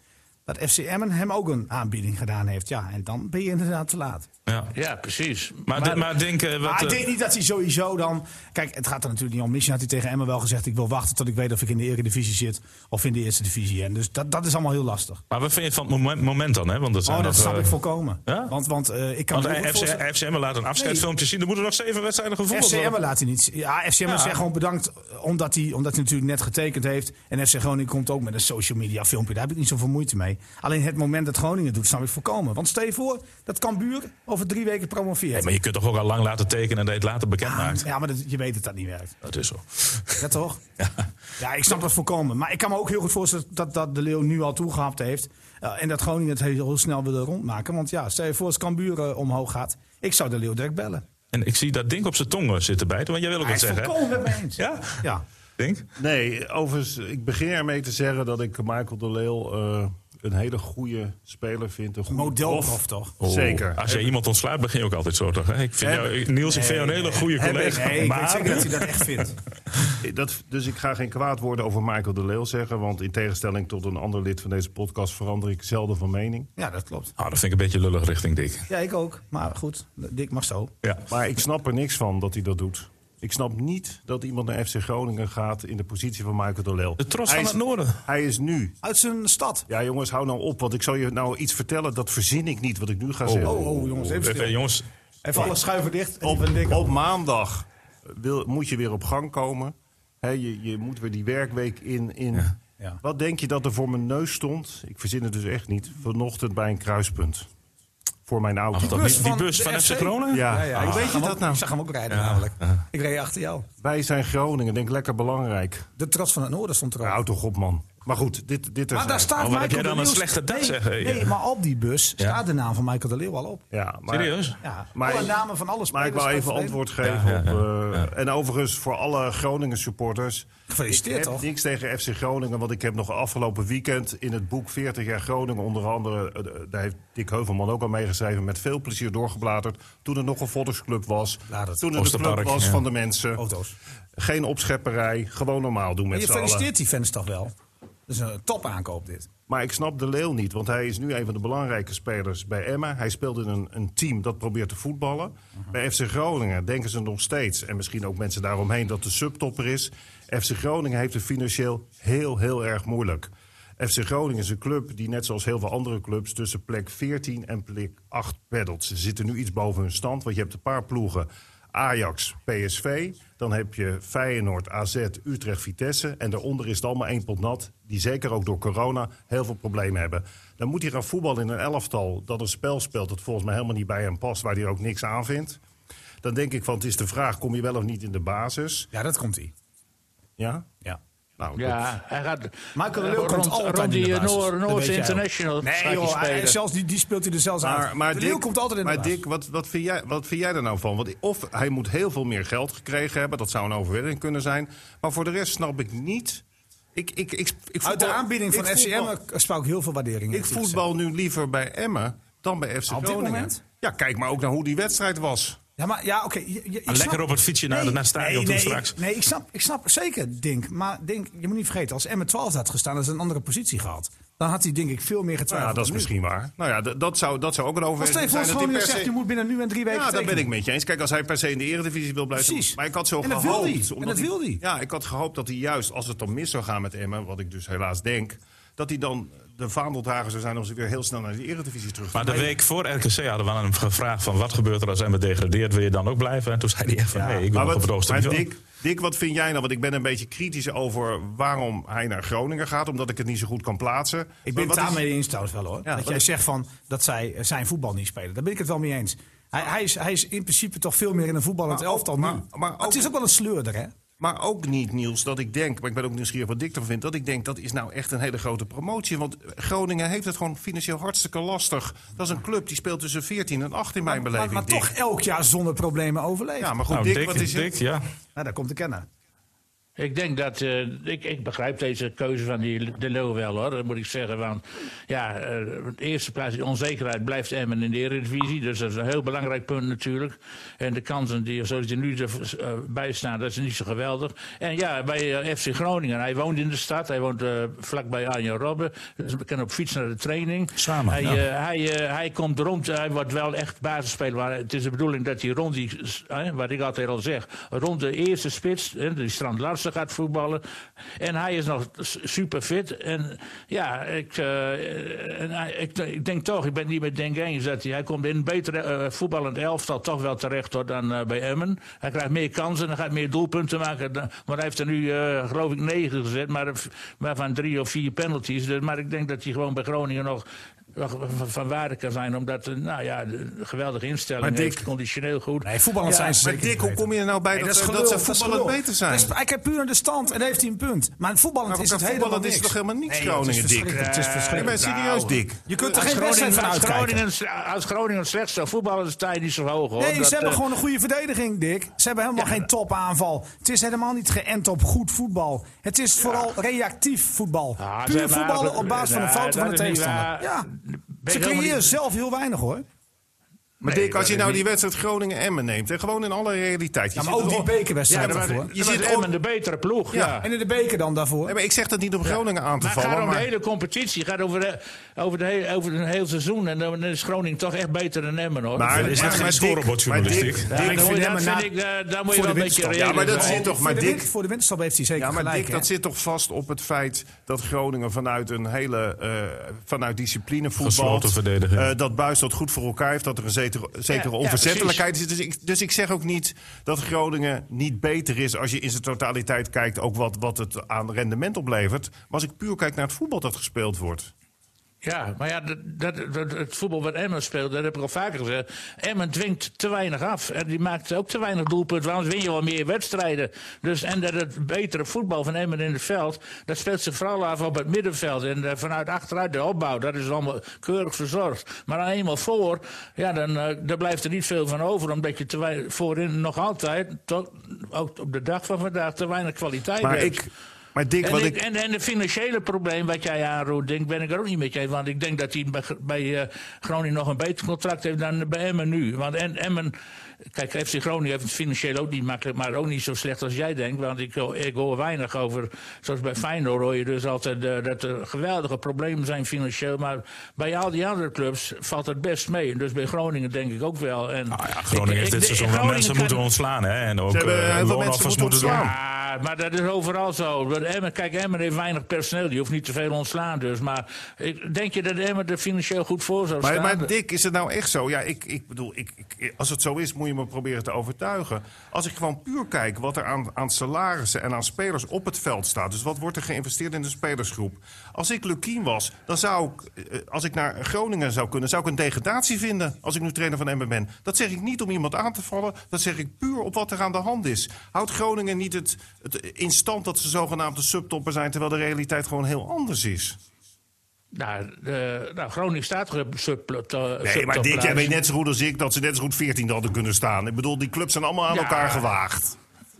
S4: dat FC Emmen hem ook een aanbieding gedaan heeft. Ja, en dan ben je inderdaad te laat.
S2: Ja.
S3: Ja, precies.
S2: Maar, de- maar denk... eh, wat,
S4: Maar ik
S2: eh,
S4: denk niet dat hij sowieso dan... Kijk, het gaat er natuurlijk niet om. Misschien had hij tegen Emmen wel gezegd... ik wil wachten tot ik weet of ik in de Eredivisie zit... of in de Eerste Divisie. En dus dat, dat is allemaal heel lastig.
S2: maar wat vind je van het moment, moment dan? Hè? Want dat zijn
S4: Oh, dat
S2: nog,
S4: snap
S2: eh,
S4: ik volkomen.
S2: ja?
S4: Want, want eh, ik kan
S2: Want
S4: me heel goed
S2: FC,
S4: voorstellen-
S2: FCM laat een afscheidsfilmpje zien. Er moeten nog zeven wedstrijden gevoerd
S4: FC
S2: worden.
S4: Emmen laat hij niet. zien. Ja, FCM
S2: Ja.
S4: zegt gewoon bedankt eh, omdat hij, omdat hij natuurlijk net getekend heeft. En FC Groningen komt ook met een social media filmpje. Daar heb ik niet zoveel moeite mee. Alleen het moment dat Groningen doet, snap ik voorkomen. Want stel je voor dat Cambuur over drie weken promoveert.
S2: Nee, maar je kunt toch ook al lang laten tekenen en dat je het later
S4: Ah,
S2: bekend maakt.
S4: ja, maar dat- je weet dat dat niet werkt.
S2: Dat is zo.
S4: Ja, toch? Ja. ik snap dat voorkomen. Maar ik kan me ook heel goed voorstellen dat, dat de Leeuw nu al toegehapt heeft. Eh, en dat Groningen het heel, heel snel willen rondmaken. Want ja, stel je voor als Cambuur eh, omhoog gaat. Ik zou de Leeuw direct bellen.
S2: En ik zie dat Dink op zijn tong eh, zitten bijten. Want jij wil ook
S4: Hij
S2: wat
S4: is
S2: zeggen, hè?
S4: volkomen met me eens.
S2: Ja?
S4: Ja.
S2: Dink?
S5: Nee, overigens, ik begin ermee te zeggen dat ik Michael de Leeuw eh, een hele goede speler vind. Een goede
S4: Modelprof toch?
S2: Oh,
S5: Zeker.
S2: Als jij iemand ontslaat, begin je ook altijd zo, toch? hè? Ik vind
S5: Heb-
S2: jou, ik- Niels, ik vind jou een hele goede
S5: Heb ik-
S2: collega.
S4: Nee, ik weet
S2: maar
S4: zeker dat hij dat echt vindt.
S5: Dat, dus ik ga geen kwaad woorden over Michael de Leeuw zeggen. Want in tegenstelling tot een ander lid van deze podcast verander ik zelden van mening.
S4: Ja, dat klopt.
S2: Ah, dat vind ik een beetje lullig richting Dick.
S4: Ja, ik ook. Maar goed, Dick mag zo.
S2: Ja.
S5: Maar ik snap er niks van dat hij dat doet. Ik snap niet dat iemand naar FC Groningen gaat in de positie van Michael de Leeuw.
S2: De trots
S5: Hij
S2: van
S5: is-
S2: het noorden.
S5: Hij is nu.
S4: Uit zijn stad.
S5: Ja, jongens, hou nou op. Want ik zal je nou iets vertellen. Dat verzin ik niet wat ik nu ga zeggen.
S4: Oh, oh, jongens, even
S2: Even,
S4: stil.
S2: Eh, jongens,
S4: Even alle schuiven dicht. En
S5: op,
S4: even Dick
S5: op maandag wil, moet je weer op gang komen. Hè, je, je moet weer die werkweek in. in.
S4: Ja.
S5: Wat denk je dat er voor mijn neus stond? Ik verzin het dus echt niet. Vanochtend bij een kruispunt. Voor mijn auto.
S2: die,
S4: bus
S2: die
S4: van
S2: bus
S4: de
S2: van
S4: FC?
S2: FC Groningen?
S5: Ja.
S4: Ja, ja, ik,
S5: Ah.
S4: weet je
S5: Zag
S4: dat nou? ik zag hem ook rijden namelijk. Ik reed achter jou.
S5: Wij zijn Groningen. Denk lekker belangrijk.
S4: De trots van het noorden stond erop.
S5: Houd toch op, man. Maar goed, dit, dit
S4: maar
S5: terzijde.
S4: Ah, daar staat
S2: Oh, wat heb
S4: Michael
S2: jij dan
S4: de
S2: een
S4: Leeuw-
S2: slechte dag,
S4: nee,
S2: zeg, hé.
S4: Nee, maar op die bus
S2: Ja.
S4: staat de naam van Michael de Leeuw al op.
S5: Ja, maar,
S2: Serieus?
S4: Ja,
S5: Maar
S4: alle
S5: ik-
S4: namen van alle
S5: Maar
S4: spelers.
S5: ik wil
S4: staan
S5: even
S4: verleden.
S5: antwoord geven op... eh, En overigens, voor alle Groningen supporters...
S4: Gefeliciteerd,
S5: Ik heb
S4: toch?
S5: niks tegen FC Groningen, want ik heb nog afgelopen weekend... in het boek 40 jaar Groningen onder andere... eh, daar heeft Dick Heuvelman ook al meegeschreven... met veel plezier doorgebladerd. Toen het nog een volksclub was.
S4: Laat het.
S5: Toen het een club
S2: Oosterpark,
S5: was
S2: ja.
S5: van de mensen.
S4: Nou, Auto's.
S5: Geen opschepperij, gewoon normaal doen
S4: Maar
S5: met
S4: je
S5: z'n allen.
S4: feliciteert die fans toch wel? Dat is een top aankoop dit.
S5: Maar ik snap de Leeuw niet, want hij is nu een van de belangrijke spelers bij Emma. Hij speelt in een, een team dat probeert te voetballen. Bij FC Groningen denken ze nog steeds, en misschien ook mensen daaromheen, dat de subtopper is. FC Groningen heeft het financieel heel, heel erg moeilijk. FC Groningen is een club die net zoals heel veel andere clubs tussen plek 14 en plek 8 peddelt. Ze zitten nu iets boven hun stand, want je hebt een paar ploegen. Ajax, PSV, dan heb je Feyenoord, AZ, Utrecht, Vitesse. En daaronder is het allemaal één pot nat, die zeker ook door corona heel veel problemen hebben. Dan moet hij gaan voetballen in een elftal dat een spel speelt dat volgens mij helemaal niet bij hem past, waar hij ook niks aan vindt. Dan denk ik van, het is de vraag, kom je wel of niet in de basis?
S4: Ja, dat komt ie.
S5: Ja?
S4: Ja.
S5: Nou, dat-
S3: Ja, hij gaat.
S4: Michael de
S3: eh,
S4: Leeuw komt
S3: rond,
S4: altijd
S3: rond
S4: in
S3: die
S4: de basis.
S3: Noor,
S4: Dat
S3: Noorse
S4: weet jij ook.
S3: International. gaat
S4: Nee,
S3: hij
S4: joh, hij-
S3: spelen.
S4: zelfs, die, die speelt hij er zelfs
S5: Maar,
S4: aan.
S5: maar
S4: de
S5: Dick,
S4: Leeuw komt altijd in de
S5: maar
S4: basis.
S5: Dick wat, wat, vind jij, wat vind jij er nou van? Want of hij moet heel veel meer geld gekregen hebben. Dat zou een overwinning kunnen zijn. Maar voor de rest snap ik niet... Ik, ik, ik, ik
S4: Uit de
S5: voetbal-
S4: aanbieding van
S5: ik voetbal-
S4: FCM sprak ik heel veel waardering.
S5: Ik voetbal nu liever bij Emmen dan bij FC
S4: Op dit
S5: Groningen.
S4: moment?
S5: Ja, kijk maar ook naar hoe die wedstrijd was.
S4: Ja, maar ja, oké. je- je- ik
S2: lekker
S4: snap-
S2: op het fietsje naar de- naar het stadion
S4: nee,
S2: toe
S4: nee,
S2: straks.
S4: ik- Nee, ik snap, ik snap zeker, Dink. Maar Dink, je moet niet vergeten, als Emma 12 had gestaan, had ze een andere positie gehad. Dan had hij, denk ik, veel meer
S5: Nou
S4: getwijfeld.
S5: ja, dat is
S4: dan nu.
S5: misschien waar. Nou ja, d- dat zou, dat zou ook een
S4: Als
S5: overwinning zijn.
S4: Steve Vos
S5: dat
S4: gewoon
S5: hij
S4: weer
S5: per
S4: zegt,
S5: se-
S4: je moet binnen nu en drie weken
S5: Ja, daar ben ik
S4: tekenen.
S5: met je eens. Kijk, als hij per se in de eredivisie wil blijven...
S4: Precies.
S5: Maar ik had zo
S4: En dat
S5: gehoopt...
S4: wil hij. En
S5: omdat
S4: dat wil hij.
S5: Ja, ik had gehoopt dat hij juist, als het dan mis zou gaan met Emmen... wat ik dus helaas denk... dat hij dan de vaandeldrager zou zijn... om ze weer heel snel naar de eredivisie terug te
S2: Maar de
S5: brengen.
S2: week voor RKC hadden we aan hem gevraagd van wat gebeurt er als Emmen degradeert, wil je dan ook blijven? En toen zei hij echt van nee, ik wil
S5: Maar
S2: nog op het
S5: wat,
S2: hoogste
S5: maar
S2: niveau.
S5: Dick, Dick, wat vind jij nou? Want ik ben een beetje kritisch over waarom hij naar Groningen gaat... omdat ik het niet zo goed kan plaatsen.
S4: Ik
S5: Maar
S4: ben
S5: wat
S4: het
S5: is-
S4: daarmee eens trouwens wel hoor. dat
S5: wat
S4: jij
S5: is-
S4: zegt van dat zij eh, zijn voetbal niet spelen. Daar ben ik het wel mee eens. Hij, hij, is, hij is in principe toch veel meer in een voetballend
S5: Maar ook-
S4: elftal
S5: maar-
S4: nu.
S5: maar ook-
S4: het is ook wel een sleurder hè.
S5: Maar ook niet, Niels, dat ik denk... maar ik ben ook nieuwsgierig wat Dick ervan vindt... dat ik denk, dat is nou echt een hele grote promotie. Want Groningen heeft het gewoon financieel hartstikke lastig. Dat is een club die speelt tussen 14 en 8 in mijn
S4: Maar,
S5: beleving,
S4: maar
S5: Dick.
S4: toch elk jaar zonder problemen overleeft.
S5: Ja,
S4: Ja,
S5: maar goed,
S2: Nou,
S5: Dick,
S2: dik,
S5: wat is het?
S2: ja.
S4: Nou, daar komt de kenner.
S3: Ik denk dat. eh, ik, ik begrijp deze keuze van die De Leeuw wel hoor. Dat moet ik zeggen. Want ja, eh, op de eerste plaats, die onzekerheid blijft Emmen in de Eredivisie. Dus dat is een heel belangrijk punt natuurlijk. En de kansen die, zoals die nu erbij staan, dat is niet zo geweldig. En ja, bij eh, FC Groningen. Hij woont in de stad. Hij woont eh, vlakbij Arjen Robben. Dus we kunnen op fiets naar de training.
S2: Samen,
S3: Hij,
S2: ja.
S3: eh, hij, eh, hij komt rond, hij wordt wel echt basisspeler. Maar het is de bedoeling dat hij rond die, eh, wat ik altijd al zeg, rond de eerste spits, eh, die Strand Larsen gaat voetballen. En hij is nog s- super fit. En ja, ik, eh, en hij- ik, ik denk toch, ik ben het niet met Denk eens dat hij, hij komt in een beter eh, voetballend elftal toch wel terecht hoor, dan eh, bij Emmen. Hij krijgt meer kansen en hij gaat meer doelpunten maken. dan- Maar hij heeft er nu, eh, geloof ik, negen gezet, maar, maar van drie of vier penalties. Dus, maar ik denk dat hij gewoon bij Groningen nog nog van- van waarde kan zijn. Omdat, eh, nou ja, de geweldige instelling
S5: Maar Dick-
S3: heeft, conditioneel goed.
S4: Nee, voetballend
S3: Ja,
S4: zijn ze
S5: Maar
S4: zeker
S5: Dick,
S4: niet
S5: hoe
S4: beter.
S5: kom je er nou bij
S4: Nee,
S5: dat, ze-
S4: gelul,
S5: dat ze voetballend
S4: gelul.
S5: beter zijn? Nou,
S4: Dat is- hij kijkt puur naar de stand en daar heeft hij een punt. Maar voetballend
S5: Maar
S4: is het
S5: elkaar
S4: helemaal
S5: voetballend
S4: niks.
S5: is toch helemaal niks,
S4: Nee, joh, het is
S5: Groningen, Dick?
S4: verschrikkelijk, Nou, Het is
S5: Ik ben
S4: verschrikkelijk.
S5: serieus, Dick.
S4: Je kunt er
S3: Als
S4: geen wedstrijd
S3: Groningen,
S4: van
S3: als,
S4: uitkijken.
S3: Groningen, als Groningen slecht zou voetballen, sta je niet zo hoog. Hoor.
S4: Nee,
S5: Oh,
S3: Dat,
S4: ze hebben
S3: eh,
S4: gewoon een goede verdediging, Dick. Ze hebben helemaal geen topaanval. Het is helemaal niet geënt op goed voetbal. Het is vooral reactief voetbal.
S3: Ja, ah, ze
S4: Puur
S3: hebben
S4: voetballen
S3: eigenlijk-
S4: op basis van een
S3: Nee,
S4: fout van de
S3: dat is niet waar.
S4: tegenstander. Ja.
S3: Ben ik
S4: Ze
S3: helemaal
S4: creëren
S3: niet-
S4: zelf heel weinig hoor.
S5: Maar
S3: Nee,
S5: Dick, als je
S3: dat
S5: nou
S3: is
S5: die wedstrijd Groningen-Emmen neemt... en gewoon in alle realiteit... je
S4: Ja, maar
S5: zit
S4: ook
S5: er
S4: die
S5: op-
S3: Ja,
S4: bekerwedstrijd
S3: dat was,
S4: daarvoor.
S3: dat
S5: Je
S3: was
S5: zit op-
S3: Emmen de betere ploeg. Ja.
S5: Ja.
S4: En in de beker dan daarvoor.
S5: Nee, maar ik zeg dat niet om Groningen aan te
S3: Maar het
S5: vallen.
S3: gaat om de
S5: maar-
S3: hele competitie. Het gaat over, de, over, de hele, over een heel seizoen. En dan is Groningen toch echt beter dan Emmen, hoor.
S5: Maar
S2: Is dat geen
S5: Dick,
S2: scorebordjournalistiek?
S5: maar Dick-
S3: Ja,
S5: Dick,
S3: dan moet je- dat
S4: Emmen
S3: vind ik, eh, daar moet je
S4: voor
S3: wel een
S4: de
S3: beetje
S4: winterstop.
S5: Ja,
S3: reëel
S5: maar dat
S3: zijn.
S5: zit toch...
S4: voor,
S5: Maar
S4: de
S5: Dick,
S4: win- voor de winterstop heeft hij zeker
S5: Ja, maar
S4: gelijk.
S5: Dick,
S4: hè?
S5: dat zit toch vast op het feit dat Groningen vanuit een hele eh, vanuit discipline voetbal. eh,
S2: Gesloten verdediging.
S5: dat Buis dat goed voor elkaar heeft, dat er een zekere, zekere
S3: ja,
S5: onverzettelijkheid is. Dus ik, dus ik zeg ook niet dat Groningen niet beter is als je in zijn totaliteit kijkt, ook wat, wat het aan rendement oplevert. Maar als ik puur kijk naar het voetbal dat gespeeld wordt.
S3: Ja, maar ja, dat, dat, dat- het voetbal wat Emmen speelt, dat heb ik al vaker gezegd. Emmen dwingt te weinig af. En die maakt ook te weinig doelpunten. Waarom win je wel meer wedstrijden? Dus, en dat het betere voetbal van Emmen in het veld, dat speelt ze vooral af op het middenveld. En eh, vanuit achteruit de opbouw, dat is allemaal keurig verzorgd. Maar dan eenmaal voor, ja, dan, eh, daar blijft er niet veel van over. Omdat je te weinig, voorin nog altijd, tot, ook op de dag van vandaag, te weinig kwaliteit
S5: Maar
S3: hebt.
S5: ik. Maar Dick,
S3: En,
S5: wat
S3: ik,
S5: ik...
S3: en, en het financiële probleem wat jij aanroept, denk, ben ik er ook niet met je. eens. Want ik denk dat hij bij, bij eh, Groningen nog een beter contract heeft dan bij Emmen nu. Want en, Emmen, kijk, FC Groningen heeft het financieel ook niet makkelijk, maar ook niet zo slecht als jij denkt. Want ik, ho- ik hoor weinig over, zoals bij Feyenoord hoor je dus altijd eh, dat er geweldige problemen zijn financieel. Maar bij al die andere clubs valt het best mee. En dus bij Groningen denk ik ook wel. En
S2: Nou ja,
S3: ik-
S2: Groningen
S3: ik-
S2: heeft dit
S3: de-
S2: seizoen wel
S3: Groningen
S2: mensen
S3: kan-
S2: moeten ontslaan. Hè? En ook
S5: Ze hebben
S2: eh,
S5: heel veel mensen
S2: loonoffers
S5: moeten
S2: doen.
S5: ontslaan.
S3: Ja, Ah, maar dat is overal zo. Want Emmen, kijk, Emmen heeft weinig personeel. Die hoeft niet te veel ontslaan dus. Maar ik- denk je dat Emmen er financieel goed voor zou
S5: Maar,
S3: staan?
S5: maar Dick, is het nou echt zo? Ja, ik, ik bedoel, ik, ik, als het zo is, moet je me proberen te overtuigen. Als ik gewoon puur kijk wat er aan, aan salarissen en aan spelers op het veld staat. Dus wat wordt er geïnvesteerd in de spelersgroep? Als ik Lukien was, dan zou ik, eh, als ik naar Groningen zou kunnen, zou ik een degradatie vinden. Als ik nu trainer van MBN ben. Dat zeg ik niet om iemand aan te vallen. Dat zeg ik puur op wat er aan de hand is. Houdt Groningen niet het, het in stand dat ze zogenaamd de subtopper zijn, terwijl de realiteit gewoon heel anders is?
S3: nou, eh, nou, Groningen staat er op sub
S5: Nee, maar Dick, jij weet net zo goed als ik dat ze net zo goed 14 hadden kunnen staan. Ik bedoel, die clubs zijn allemaal aan
S3: Ja.
S5: elkaar gewaagd.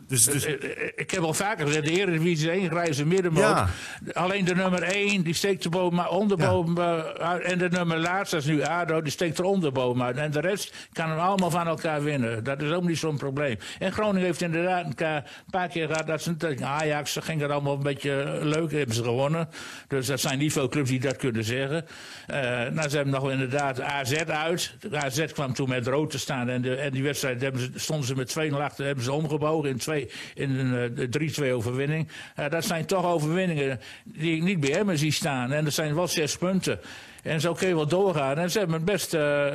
S5: Dus, dus
S3: Eh, Ik heb al vaker gezegd, de Eredivisie is één grijze middenmoot.
S5: Ja.
S3: Alleen de nummer één, die steekt de boom maar onderboom eh, uit. En de nummer laatst, dat is nu ADO, die steekt er onderboom uit. En de rest kan hem allemaal van elkaar winnen. Dat is ook niet zo'n probleem. En Groningen heeft inderdaad een ka- paar keer gehad dat ze... dat Ajax ging er allemaal een beetje eh, leuk, hebben ze gewonnen. Dus dat zijn niet veel clubs die dat kunnen zeggen. Eh, nou, ze hebben nog wel inderdaad AZ uit. De AZ kwam toen met rood te staan. En, de, en die wedstrijd hebben ze, stonden ze met 2-0 achter. Hebben ze omgebogen in, twee, in een eh, 3-2 overwinning. Eh, dat zijn toch overwinningen die ik niet bij Emmen zie staan. En dat zijn wel zes punten. En zo kun je wel doorgaan. En ze hebben een best, eh,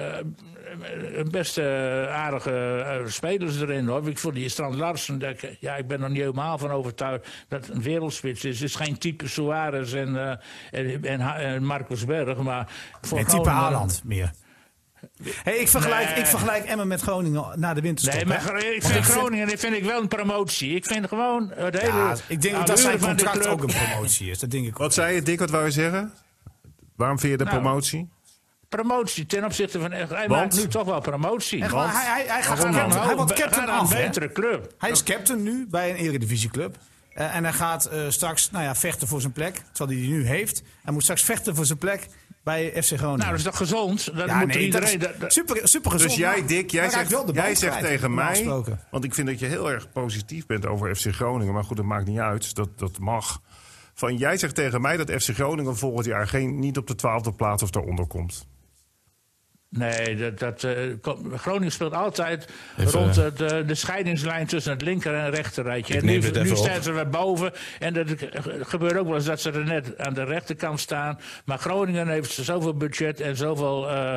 S3: een best eh, aardige eh, spelers erin. Hoor. Ik vond die Strand Larsen, dat ik- ja, ik ben er niet helemaal van overtuigd dat het een wereldspits is. Het is geen type Suarez en, eh, en, en, Ha- en Marcus Berg. Maar voor
S4: Nee, type
S3: Groningen-
S4: Haaland meer. Hey, ik, vergelijk, ik vergelijk Emmen met Groningen na de winterstop.
S3: Nee,
S4: hè?
S3: maar Gro- ik
S4: Want
S3: vind
S4: ik vind-
S3: Groningen dat vind ik wel een promotie. Ik vind gewoon het hele. Nou,
S4: Ja, ik denk dat dat zijn
S3: allure van die
S4: contract
S3: club-
S4: ook een promotie is. Dat denk ik ook.
S5: wat zei je, Dick, wat wou je zeggen? Waarom vind je de
S3: Nou,
S5: promotie?
S3: Promotie ten opzichte van. Hij
S5: Want?
S3: maakt nu toch wel promotie.
S4: Echt waar, hij, hij, hij gaat
S3: Ga
S4: captain,
S3: nou
S4: hij wordt
S3: be-
S4: captain
S3: ga naar
S4: af.
S3: een
S4: hè?
S3: betere club.
S4: Hij is captain nu bij een eredivisieclub. Eh, en hij gaat eh, straks nou ja, vechten voor zijn plek, terwijl hij die nu heeft. Hij moet straks vechten voor zijn plek bij FC Groningen.
S3: Nou, dat is toch gezond? Dat
S4: Ja,
S3: moet
S4: nee,
S3: iedereen.
S4: dat is
S3: dat- dat-
S4: super, super gezond.
S5: Dus jij,
S4: maar
S5: Dick, jij
S4: hij raakt
S5: zegt,
S4: wel de bal
S5: jij zegt
S4: kwijt,
S5: tegen
S4: normaal
S5: mij...
S4: gesproken.
S5: Want ik vind dat je heel erg positief bent over FC Groningen. Maar goed, dat maakt niet uit. Dus Dat, dat mag. Van, jij zegt tegen mij dat FC Groningen volgend jaar geen, niet op de twaalfde plaats of daaronder komt.
S3: Nee, dat, dat, eh, kom- Groningen speelt altijd
S2: Even,
S3: rond
S2: eh,
S3: het, eh, de, scheidingslijn tussen het linker en rechterrijtje. En
S2: neem
S3: nu,
S2: dit even
S3: nu
S2: op.
S3: staan ze weer boven. En dat eh, gebeurt ook wel eens dat ze er net aan de rechterkant staan. Maar Groningen heeft zoveel budget en zoveel eh,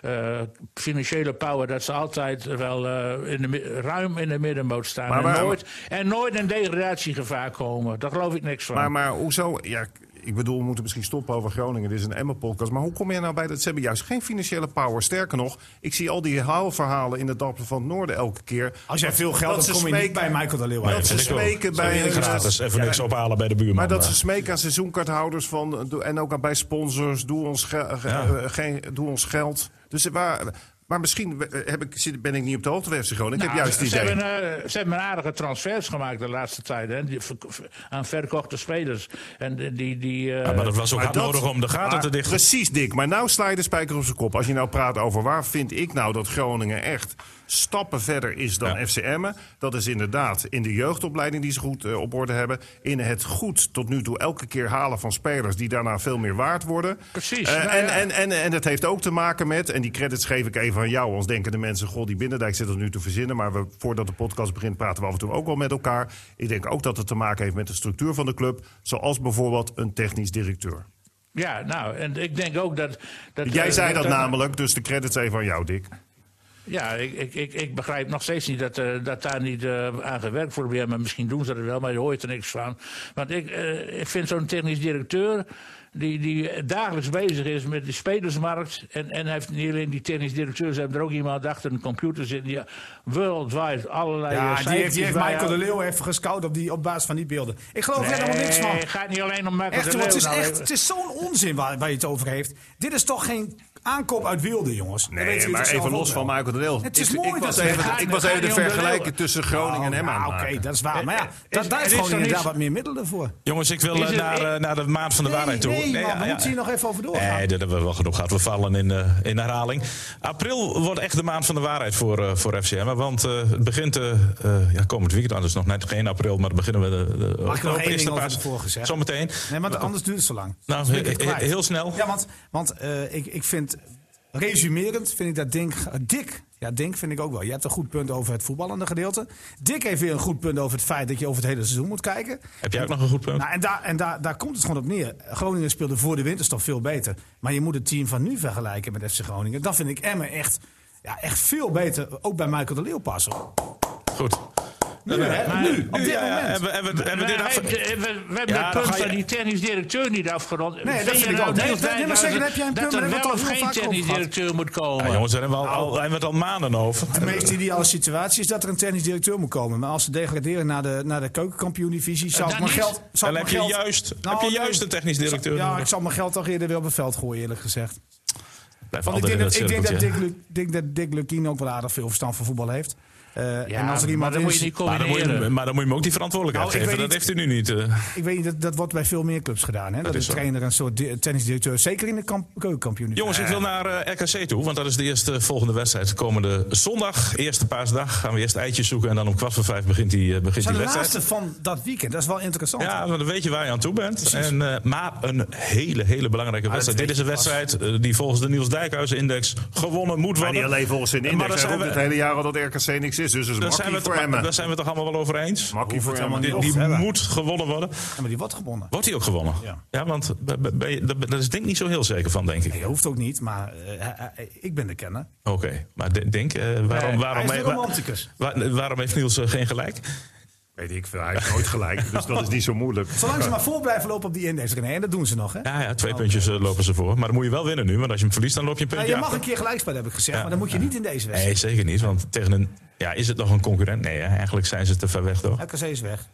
S3: eh, financiële power dat ze altijd wel eh, in de, mi- ruim in de middenmoot staan.
S5: Maar
S3: en,
S5: waar-
S3: nooit, en nooit in degradatiegevaar komen. Daar geloof ik niks van.
S5: Maar, maar hoezo? Ja, ik bedoel, we moeten misschien stoppen over Groningen. Dit is een Emma-podcast. Maar hoe kom je nou bij dat? Ze hebben juist geen financiële power. Sterker nog, ik zie al die haalverhalen in de Dappen van het Noorden elke keer.
S4: Als jij veel geld
S5: Dat
S4: hebt,
S5: ze
S4: kom je niet
S5: smeken-
S4: bij Michael de Leeuw
S5: Maar
S4: uit.
S5: dat ze
S2: vind ik ook.
S5: smeken
S2: Zou
S5: bij...
S2: je gratis even
S5: Ja,
S2: niks ophalen bij de buurman.
S5: Maar dat
S2: eh.
S5: ze smeken aan seizoenkaarthouders van, eh, doe- en ook aan bij sponsors, doe ons, ge- ge- eh, geen, doe ons geld. Dus waar, maar misschien eh, heb ik, zit- ben ik niet op de hoogte van FC Groningen. ik heb
S3: Nou,
S5: juist het
S3: ze,
S5: idee.
S3: Hebben, eh, ze hebben aardige transfers gemaakt de laatste tijd. Hè? Die, ver- ver- aan verkochte spelers. En die, die, die, eh,
S2: Ja, Ah, maar dat was ook
S5: Maar
S2: hard
S5: dat-
S2: nodig om de gaten
S5: maar
S2: te dichten.
S5: Precies, Dick. Maar nou sla je de spijker op zijn kop. Als je nou praat over waar vind ik nou dat Groningen echt stappen verder is dan
S2: Ja.
S5: FC Emmen. Dat is inderdaad in de jeugdopleiding die ze goed eh, op orde hebben. In het goed tot nu toe elke keer halen van spelers die daarna veel meer waard worden.
S3: Precies,
S5: Eh,
S3: nou
S5: en,
S3: ja.
S5: en, en, en dat heeft ook te maken met, en die credits geef ik even aan jou. Ons denken de mensen, god die Binnendijk zit dat nu te verzinnen. Maar we, voordat de podcast begint praten we af en toe ook wel met elkaar. Ik denk ook dat het te maken heeft met de structuur van de club. Zoals bijvoorbeeld een technisch directeur.
S3: ja, nou, en ik denk ook dat. dat
S5: Jij
S3: eh,
S5: zei dat namelijk, dus de credits even aan jou, Dick.
S3: Ja, ik, ik, ik, ik begrijp nog steeds niet dat, eh, dat daar niet eh, aan gewerkt wordt. Ja, maar misschien doen ze dat wel, maar je hoort er niks van. Want ik, eh, ik vind zo'n technisch directeur. die, die dagelijks bezig is met de spelersmarkt. En, en hij heeft niet alleen die technisch-directeur, ze hebben er ook iemand achter een computer zitten. Die worldwide allerlei. eh,
S4: Ja, die
S3: cijfers
S4: heeft, die heeft
S3: bijhoudt.
S4: Michael de Leeuw even gescout op, die, op basis van die beelden. Ik geloof er helemaal niks van.
S3: Nee, gaat niet alleen om Michael
S4: Echt,
S3: de
S4: hoor,
S3: Leeuw.
S4: het is,
S3: nou
S4: echt,
S3: even.
S4: het is zo'n onzin waar, waar je het over heeft. Dit is toch geen aankoop uit wilde, jongens. Dan weten
S5: Nee,
S4: jullie
S5: maar
S4: het zelf
S5: even
S4: ook
S5: los
S4: wel.
S5: van Michael de Leeuw.
S4: Het is
S5: ik,
S4: mooi
S5: ik
S4: dat
S5: was
S4: ze
S5: even,
S3: gaan-
S5: ik was
S3: gaan
S5: even de
S3: niet om de
S5: vergelijking
S3: Leeuw.
S5: tussen Groningen en hem
S4: Nou,
S5: aan
S4: Oké,
S5: het maken.
S4: dat is waar. Maar ja,
S3: Eh, eh,
S4: dat,
S3: is-
S4: daar
S3: er
S4: is
S3: is
S4: gewoon
S3: toch niks-
S4: inderdaad wat meer middelen voor.
S2: Jongens, ik wil eh,
S3: Is het-
S2: naar, eh, naar de maand van de waarheid toe.
S4: nee, nee,
S2: ja,
S4: maar we
S2: ja.
S4: moeten hier nog even over doorgaan.
S2: Nee, dat hebben we wel genoeg gehad. We vallen in, eh, in herhaling. April wordt echt de maand van de waarheid voor, eh, voor FCM. Want eh, het begint eh, eh, ja, komend weekend anders nog net geen april, maar dan beginnen we de, de
S4: Mag ik nog
S2: op
S4: één
S2: eerste
S4: ding over
S2: paas-
S4: de vorige zeggen?
S2: Zometeen.
S4: Nee, want anders duurt het zo lang.
S2: Nou,
S4: Dus ben ik het
S2: he- he-
S4: kwijt.
S2: heel snel.
S4: Ja, want, want eh, ik, ik vind, resumerend vind ik dat Dink, eh, Dick, ja Dink vind ik ook wel. Je hebt een goed punt over het voetballende gedeelte. Dick heeft weer een goed punt over het feit dat je over het hele seizoen moet kijken.
S2: Heb jij ook nog een goed punt?
S4: Nou, en daar, en daar, daar komt het gewoon op neer. Groningen speelde voor de winterstop veel beter. Maar je moet het team van nu vergelijken met FC Groningen. Dan vind ik Emmen echt, ja, echt veel beter. Ook bij Michael de Leeuw passen.
S2: Goed. Eh,
S4: Nu, hè? Nu, op dit
S2: Ja, ja,
S4: moment.
S2: Hebben, hebben, hebben
S3: Nee,
S2: dit af...
S3: we, we- we hebben
S2: Ja,
S3: het
S2: dan
S3: punt
S2: ga je-
S3: van die technisch directeur niet afgerond. nou
S4: dat vind ik ook. Nee,
S3: Niels
S4: nee, maar
S3: Dijkhuizen
S4: zeker, daar heb jij een punt,
S3: Dat
S4: maar
S3: er
S4: daar
S3: wel of
S4: hebben we het al
S3: geen
S4: heel vaak over
S3: technisch
S4: gehad.
S3: directeur moet komen.
S2: Ja, jongens, daar hebben we al,
S4: Nou.
S2: al, daar hebben we het al maanden over.
S4: De meest ideale situatie is dat er een technisch directeur moet komen. Maar als ze degraderen naar de, naar de keukenkampioen-divisie, zou
S3: Eh,
S4: ik
S3: dan
S4: mijn
S3: niet.
S4: geld... Zou
S2: Dan
S4: ik
S2: heb
S4: mijn
S2: je,
S4: geld-
S2: juist,
S4: Nou,
S2: heb je
S4: nee.
S2: juist een technisch directeur
S4: Ja,
S2: nodig.
S4: ik zal mijn geld toch eerder weer op het veld gooien, eerlijk gezegd.
S2: Blijf
S4: Want ik
S2: altijd
S4: denk,
S2: in dat
S4: dat, ik denk dat Dick,
S2: cirkeltje.
S4: Lu- denk dat Dick Lukien ook wel aardig veel verstand van voetbal heeft. Eh,
S3: Ja,
S4: en als er
S3: maar
S4: iemand
S3: dan moet je
S4: is...
S3: niet
S2: Maar dan, moet je,
S3: combineren.
S2: maar dan moet je hem ook die verantwoordelijkheid
S4: Nou, ik
S2: geven. Dat
S4: weet
S2: heeft hij nu niet. eh.
S4: Ik weet niet, dat, dat wordt bij veel meer clubs gedaan. Hè? Dat,
S2: is
S4: de
S2: zo.
S4: trainer een soort di- tennisdirecteur, zeker in de kamp- keukenkampioen.
S2: Jongens, ik wil naar eh, RKC toe, want dat is de eerste eh, volgende wedstrijd. Komende zondag, eerste paasdag, gaan we eerst eitjes zoeken. En dan om kwart voor vijf begint die, eh, begint
S4: zijn
S2: die
S4: de
S2: wedstrijd.
S4: laatste van dat weekend. Dat is wel interessant.
S2: Ja, want dan weet je waar je aan toe bent. En, eh, maar een hele, hele belangrijke wedstrijd. Dit
S4: Ah, weet
S2: is een
S4: je
S2: wedstrijd eh, die volgens de Niels Dijkhuizen-index gewonnen moet
S5: Maar
S2: worden.
S5: niet alleen volgens zijn
S2: Maar daar
S5: index. Hij
S2: zijn
S5: roept het
S2: we-
S5: hele jaar al dat RKC niks is. Dus dat is
S2: daar, zijn we
S5: makkie
S2: het,
S5: voor
S2: maar-
S5: hem.
S2: daar zijn we het toch allemaal wel over eens?
S5: Makkie voor hem.
S4: helemaal
S2: Die,
S4: niet
S2: die
S4: op, hè, daar.
S2: moet gewonnen worden.
S4: Ja, maar die wordt gewonnen.
S2: Wordt die ook gewonnen? Ja,
S4: Ja.
S2: want b- b- ben je- daar daar is denk ik niet zo heel zeker van, denk ik.
S4: Nee, hoeft ook niet, maar eh, eh, eh, ik ben de kenner.
S2: Oké, maar de- denk, eh, waarom, waarom,
S4: hij is
S2: wa-
S4: een romanticus.
S2: wa- waarom heeft Niels eh, geen gelijk?
S5: Weet ik veel. Hij heeft nooit gelijk. Dus dat is niet zo moeilijk.
S4: Zolang ze maar voor blijven lopen op die index, René. En dat doen ze nog, hè?
S2: Ja, ja twee puntjes eh, lopen ze voor. Maar dan moet je wel winnen nu, want als je hem verliest, dan loop je een
S4: Ja,
S2: puntje
S4: Nou, je mag
S2: achter.
S4: een keer gelijk spelen, heb ik gezegd.
S2: Ja,
S4: maar dan moet je niet in deze wedstrijd.
S2: Nee, zeker niet, want tegen een... Ja, is het nog een concurrent? Nee, hè? eigenlijk zijn ze te ver weg, toch?
S4: RKC is weg.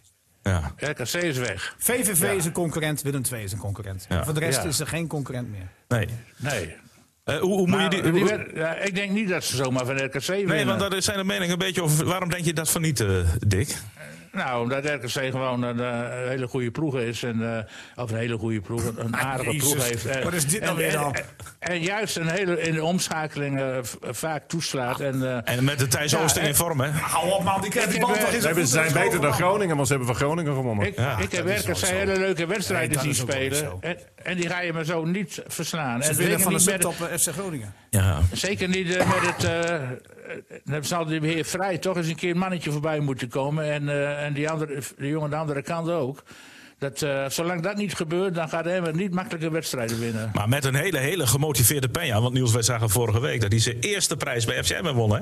S2: Ja.
S3: RKC is weg.
S4: VVV is een concurrent, Willem II is een concurrent.
S2: Ja.
S4: Voor de rest
S3: Ja.
S4: is er geen concurrent meer.
S2: Nee.
S3: Nee.
S2: Eh, hoe, hoe
S3: Maar
S2: moet je die...
S3: Nou, die
S2: hoe-
S3: werd- ja, ik denk niet dat ze zomaar van RKC winnen.
S2: nee, want daar zijn de meningen een beetje over... Waarom denk je dat van niet, eh, Dick?
S3: Nou, omdat RKC gewoon een eh, hele goede ploeg is. En, eh, of een hele goede ploeg, een- een aardige
S4: Ah, Jezus,
S3: ploeg heeft. En,
S4: wat is dit
S3: en-
S4: nou weer
S3: en-
S4: dan?
S3: En, en juist een hele, in de omschakelingen vaak toeslaat.
S4: Ah.
S3: En, eh,
S2: En met de Thijs
S3: Ja,
S2: Oosting
S3: eh,
S2: in vorm, hè?
S4: Hou op, man. Die krijgt die bal toch in
S5: Ze hebben-
S4: voeten
S5: Ze zijn
S4: geschoven,
S5: beter dan
S4: man.
S5: Groningen, want ze hebben van Groningen gewonnen.
S3: Ik, ik heb RKC hele leuke wedstrijden
S4: Nee,
S3: zien
S4: dat is ook wel niet
S3: spelen.
S4: zo.
S3: En, en die ga je maar zo niet verslaan.
S4: Ze
S3: en
S4: winnen
S3: zeker
S4: van de
S3: niet met-
S4: subtop eh, FC Groningen.
S2: Ja.
S3: Zeker niet eh, met het. eh, eh, Dan zal de heer Vrij toch eens een keer een mannetje voorbij moeten komen. En, eh, en die andere, de jongen aan de andere kant ook. Dat, eh, zolang dat niet gebeurt, dan gaat Emmer niet makkelijke wedstrijden winnen.
S2: Maar met een hele, hele gemotiveerde Penja. Want Niels, wij zagen vorige week dat hij zijn eerste prijs bij FCM won, hè?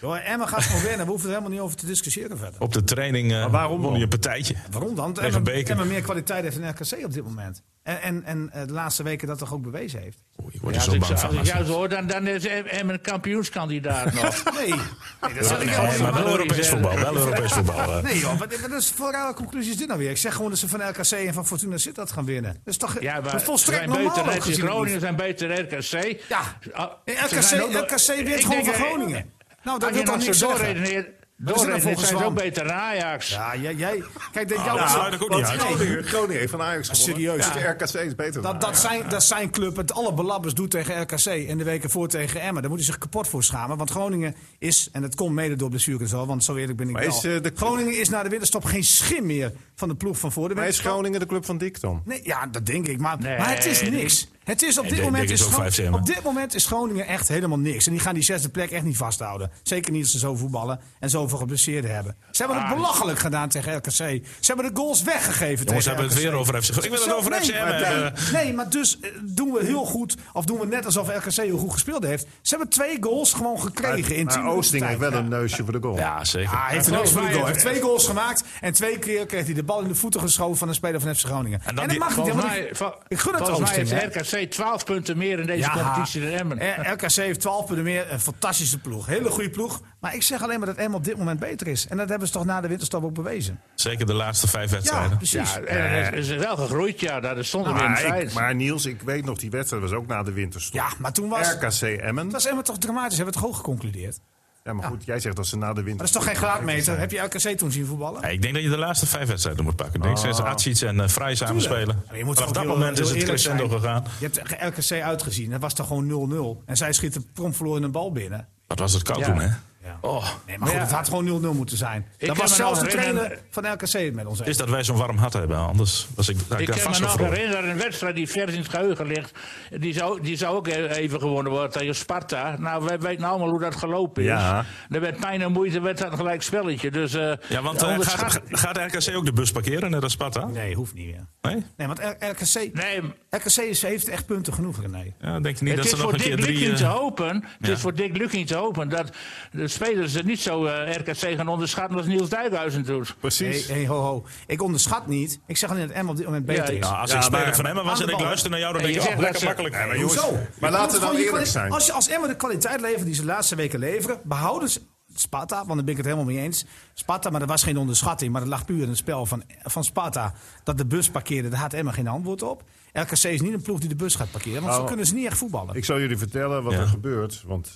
S4: Joh, Emma gaat gewoon winnen. We hoeven er helemaal niet over te discussiëren verder.
S2: Op de training eh,
S5: waarom
S2: won hij
S5: dan?
S2: een partijtje.
S4: Waarom dan?
S2: Tegen
S4: Emma,
S2: Beker.
S4: Emma meer kwaliteit heeft dan RKC op dit moment. En, en, en eh, de laatste weken dat toch ook bewezen heeft.
S2: Oeh, ik word
S3: Ja,
S2: er
S3: als
S2: zo
S3: ik,
S2: bang
S3: als
S2: van.
S3: ik jou zo hoor, dan, dan is Emmer een
S2: [laughs]
S3: kampioenskandidaat nog.
S4: Nee, nee dat zat ik
S2: Nee,
S4: helemaal niet
S2: maar
S4: aan.
S2: wel Europees voetbal. Wel Europees voetbal. eh.
S4: Nee joh, wat, wat is voor rare conclusie is dit nou weer? Ik zeg gewoon dat ze van RKC en van Fortuna zit dat gaan winnen. Dat is toch
S3: Ja,
S4: dat
S3: maar
S4: is volstrekt
S3: zijn beter
S4: normaal ook
S3: RKC
S4: gezien dus. het
S3: Groningen zijn beter RKC.
S4: Ja.
S3: Ah,
S4: Nee,
S3: ze
S4: RKC
S3: zijn ook nog-
S4: RKC wint
S3: Ik
S4: gewoon
S3: denk,
S4: van
S3: eh,
S4: Groningen. Nou, dat
S3: Als
S4: wil
S3: je
S4: toch
S3: nog
S4: niks
S3: zo
S4: zeggen?
S3: doorredeneert,
S4: nou
S3: doorredeneert
S4: volgens
S3: zijn ze ook
S4: Wan?
S3: beter dan Ajax.
S4: Ja, jij, jij. Kijk, dat, jouw,
S2: dat sluit ik ook niet uit.
S4: Nee,
S5: Groningen, Groningen heeft van Ajax gewonnen.
S4: serieus.
S5: Dus de RKC is beter dan
S4: dat, dat, zijn, dat zijn club het alle belabbers doet tegen RKC en de weken voor tegen Emmen. Daar moet hij zich kapot voor schamen. Want Groningen is, en dat komt mede door blessure en zo, want zo eerlijk ben ik
S5: Maar
S4: wel.
S5: is, eh, de-
S4: Groningen is na de winterstop geen schim meer van de ploeg van voor de
S5: Maar is
S4: winterstop.
S5: Groningen de club van Dick dan?
S4: Nee, ja, dat denk ik. Maar,
S3: Nee,
S4: maar het is
S3: nee.
S4: niks. Het is
S2: Nee,
S4: op dit,
S2: nee,
S4: moment
S2: dit
S4: is
S2: is ook
S4: Schro-
S2: 5 Emmen.
S4: op dit moment is Groningen echt helemaal niks. En die gaan die zesde plek echt niet vasthouden. Zeker niet als ze zo voetballen en zoveel geblesseerden hebben. Ze hebben het belachelijk gedaan tegen RKC. Ze hebben de goals weggegeven
S2: Ah, Jongens,
S4: tegen
S2: hebben we het
S4: RKC.
S2: weer over FC. Ik wil het
S4: Zo,
S2: over
S4: nee,
S2: FC
S4: maar-
S2: hebben.
S4: nee, nee, maar dus eh, doen we heel goed. Of doen we net alsof RKC heel goed gespeeld heeft. Ze hebben twee goals gewoon gekregen in
S5: Maar
S4: tien minuten
S5: Oosting heeft
S4: tijd.
S5: wel een neusje voor de goal.
S2: Ja, zeker.
S4: Ah, hij heeft, een absolute goal. Hij heeft twee goals gemaakt. En twee keer kreeg hij de bal in de voeten geschoven van een speler van FC Groningen. En,
S2: dan
S4: dat
S2: die-
S4: mag niet. hè,
S3: Volgens
S4: want
S3: mij,
S4: ik,
S3: vol-
S4: ik gun het
S3: volgens mij
S4: Oosting. hè.
S3: heeft RKC 12 punten meer in deze competitie dan Emmen.
S4: Eh, RKC heeft 12 punten meer. Een fantastische ploeg. Hele goede ploeg. Maar ik zeg alleen maar dat Emmen op dit moment beter is. En dat hebben ze toch na de winterstop ook bewezen.
S2: Zeker de laatste vijf
S4: Ja, Nou,
S2: wedstrijden.
S4: precies. Eh,
S3: Ja, eh, en er is, is wel gegroeid, ja. Dat is zonder meer een
S5: Maar, ik-
S3: feit.
S5: maar Niels, ik weet nog, die wedstrijd was ook na de winterstop.
S4: Ja, maar toen was-
S5: RKC Emmen.
S4: Dat was Emmen toch dramatisch. Hebben we het gewoon geconcludeerd. Maar
S5: Ja, maar goed, jij zegt dat ze na de winter.
S4: dat is toch geen graadmeter. Heb je RKC toen zien voetballen?
S2: Ja, ik denk dat je de laatste vijf wedstrijden moet pakken. Ik denk dat ze Atsiets en eh Vrij samen
S4: Tuurlijk.
S2: spelen.
S4: Maar je moet
S2: Vanaf
S4: toch
S2: dat
S4: ook heel-
S2: moment is
S4: heel
S2: het
S4: eerlijk
S2: crescendo
S4: zijn.
S2: gegaan.
S4: Je hebt tegen RKC uitgezien. Dat was toch gewoon 0-0. En zij schieten prompt verloren een bal binnen.
S2: Dat was het koud
S3: Ja.
S2: toen, hè?
S4: Ja.
S2: Oh,
S4: Nee, maar goed,
S3: Ja.
S4: het had gewoon 0-0 moeten zijn.
S3: kan
S4: Dat was
S3: me
S4: zelfs de
S3: nog herinneren-
S4: trainer van RKC het met ons eens.
S2: is dat wij zo'n warm hart hebben. Anders was ik, had ik
S3: Ik
S2: daar
S3: kan
S2: vast
S3: me nog
S2: gevroren.
S3: herinneren een wedstrijd die vers in het geheugen ligt. Die zou, die zou ook e- even gewonnen worden tegen Sparta. Nou, wij weten nou allemaal hoe dat gelopen is.
S5: Ja.
S3: Er werd pijn en moeite, werd dat een gelijk spelletje. Dus, eh,
S2: Ja, want eh,
S3: onderschat-
S2: gaat, gaat RKC ook de bus parkeren, net als Sparta?
S4: Nee, hoeft niet meer.
S2: Nee?
S4: Nee, want R- RKC,
S3: Nee,
S4: RKC is- heeft echt punten genoeg, René.
S2: Ja, denk je niet
S3: het
S2: dat
S3: is
S2: ze nog
S3: voor
S2: een keer
S3: Dick
S2: drie...
S3: Lukking
S2: eh,
S3: te hopen. Het
S2: ja.
S3: is voor Dick Lukking te hopen dat de spelers het niet zo eh, RKC gaan onderschatten als Niels Dijkhuizen doet.
S4: Hey,
S5: Precies.
S4: hey, ho, ho. Ik onderschat niet. Ik zeg alleen dat M op dit moment beter
S3: Ja,
S4: is.
S2: nou, als ik
S5: Ja,
S2: speler
S5: maar-
S2: van Emmen was
S4: Aan
S2: en
S4: de
S2: ik
S4: bal.
S2: luister naar jou, dan
S3: En
S2: denk
S3: je
S2: ik, oh,
S3: zegt
S2: lekker
S3: dat ze-
S2: makkelijk.
S5: Ja, maar
S4: Hoezo?
S5: jongens, maar
S4: Je moet
S5: laten we
S4: gewoon
S5: nou
S4: je
S5: eerlijk
S4: kwali-
S5: zijn.
S4: Als, je, als Emmen de kwaliteit levert die ze de laatste weken leveren, behouden ze Sparta, want daar ben ik het helemaal mee eens. Sparta, maar dat was geen onderschatting, maar dat lag puur in het spel van, van Sparta. Dat de bus parkeerde, daar had Emmen geen antwoord op. RKC is niet een ploeg die de bus gaat parkeren, want zo
S5: Oh.
S4: kunnen ze niet echt voetballen.
S5: Ik zal jullie vertellen wat
S2: Ja.
S5: er gebeurt. Want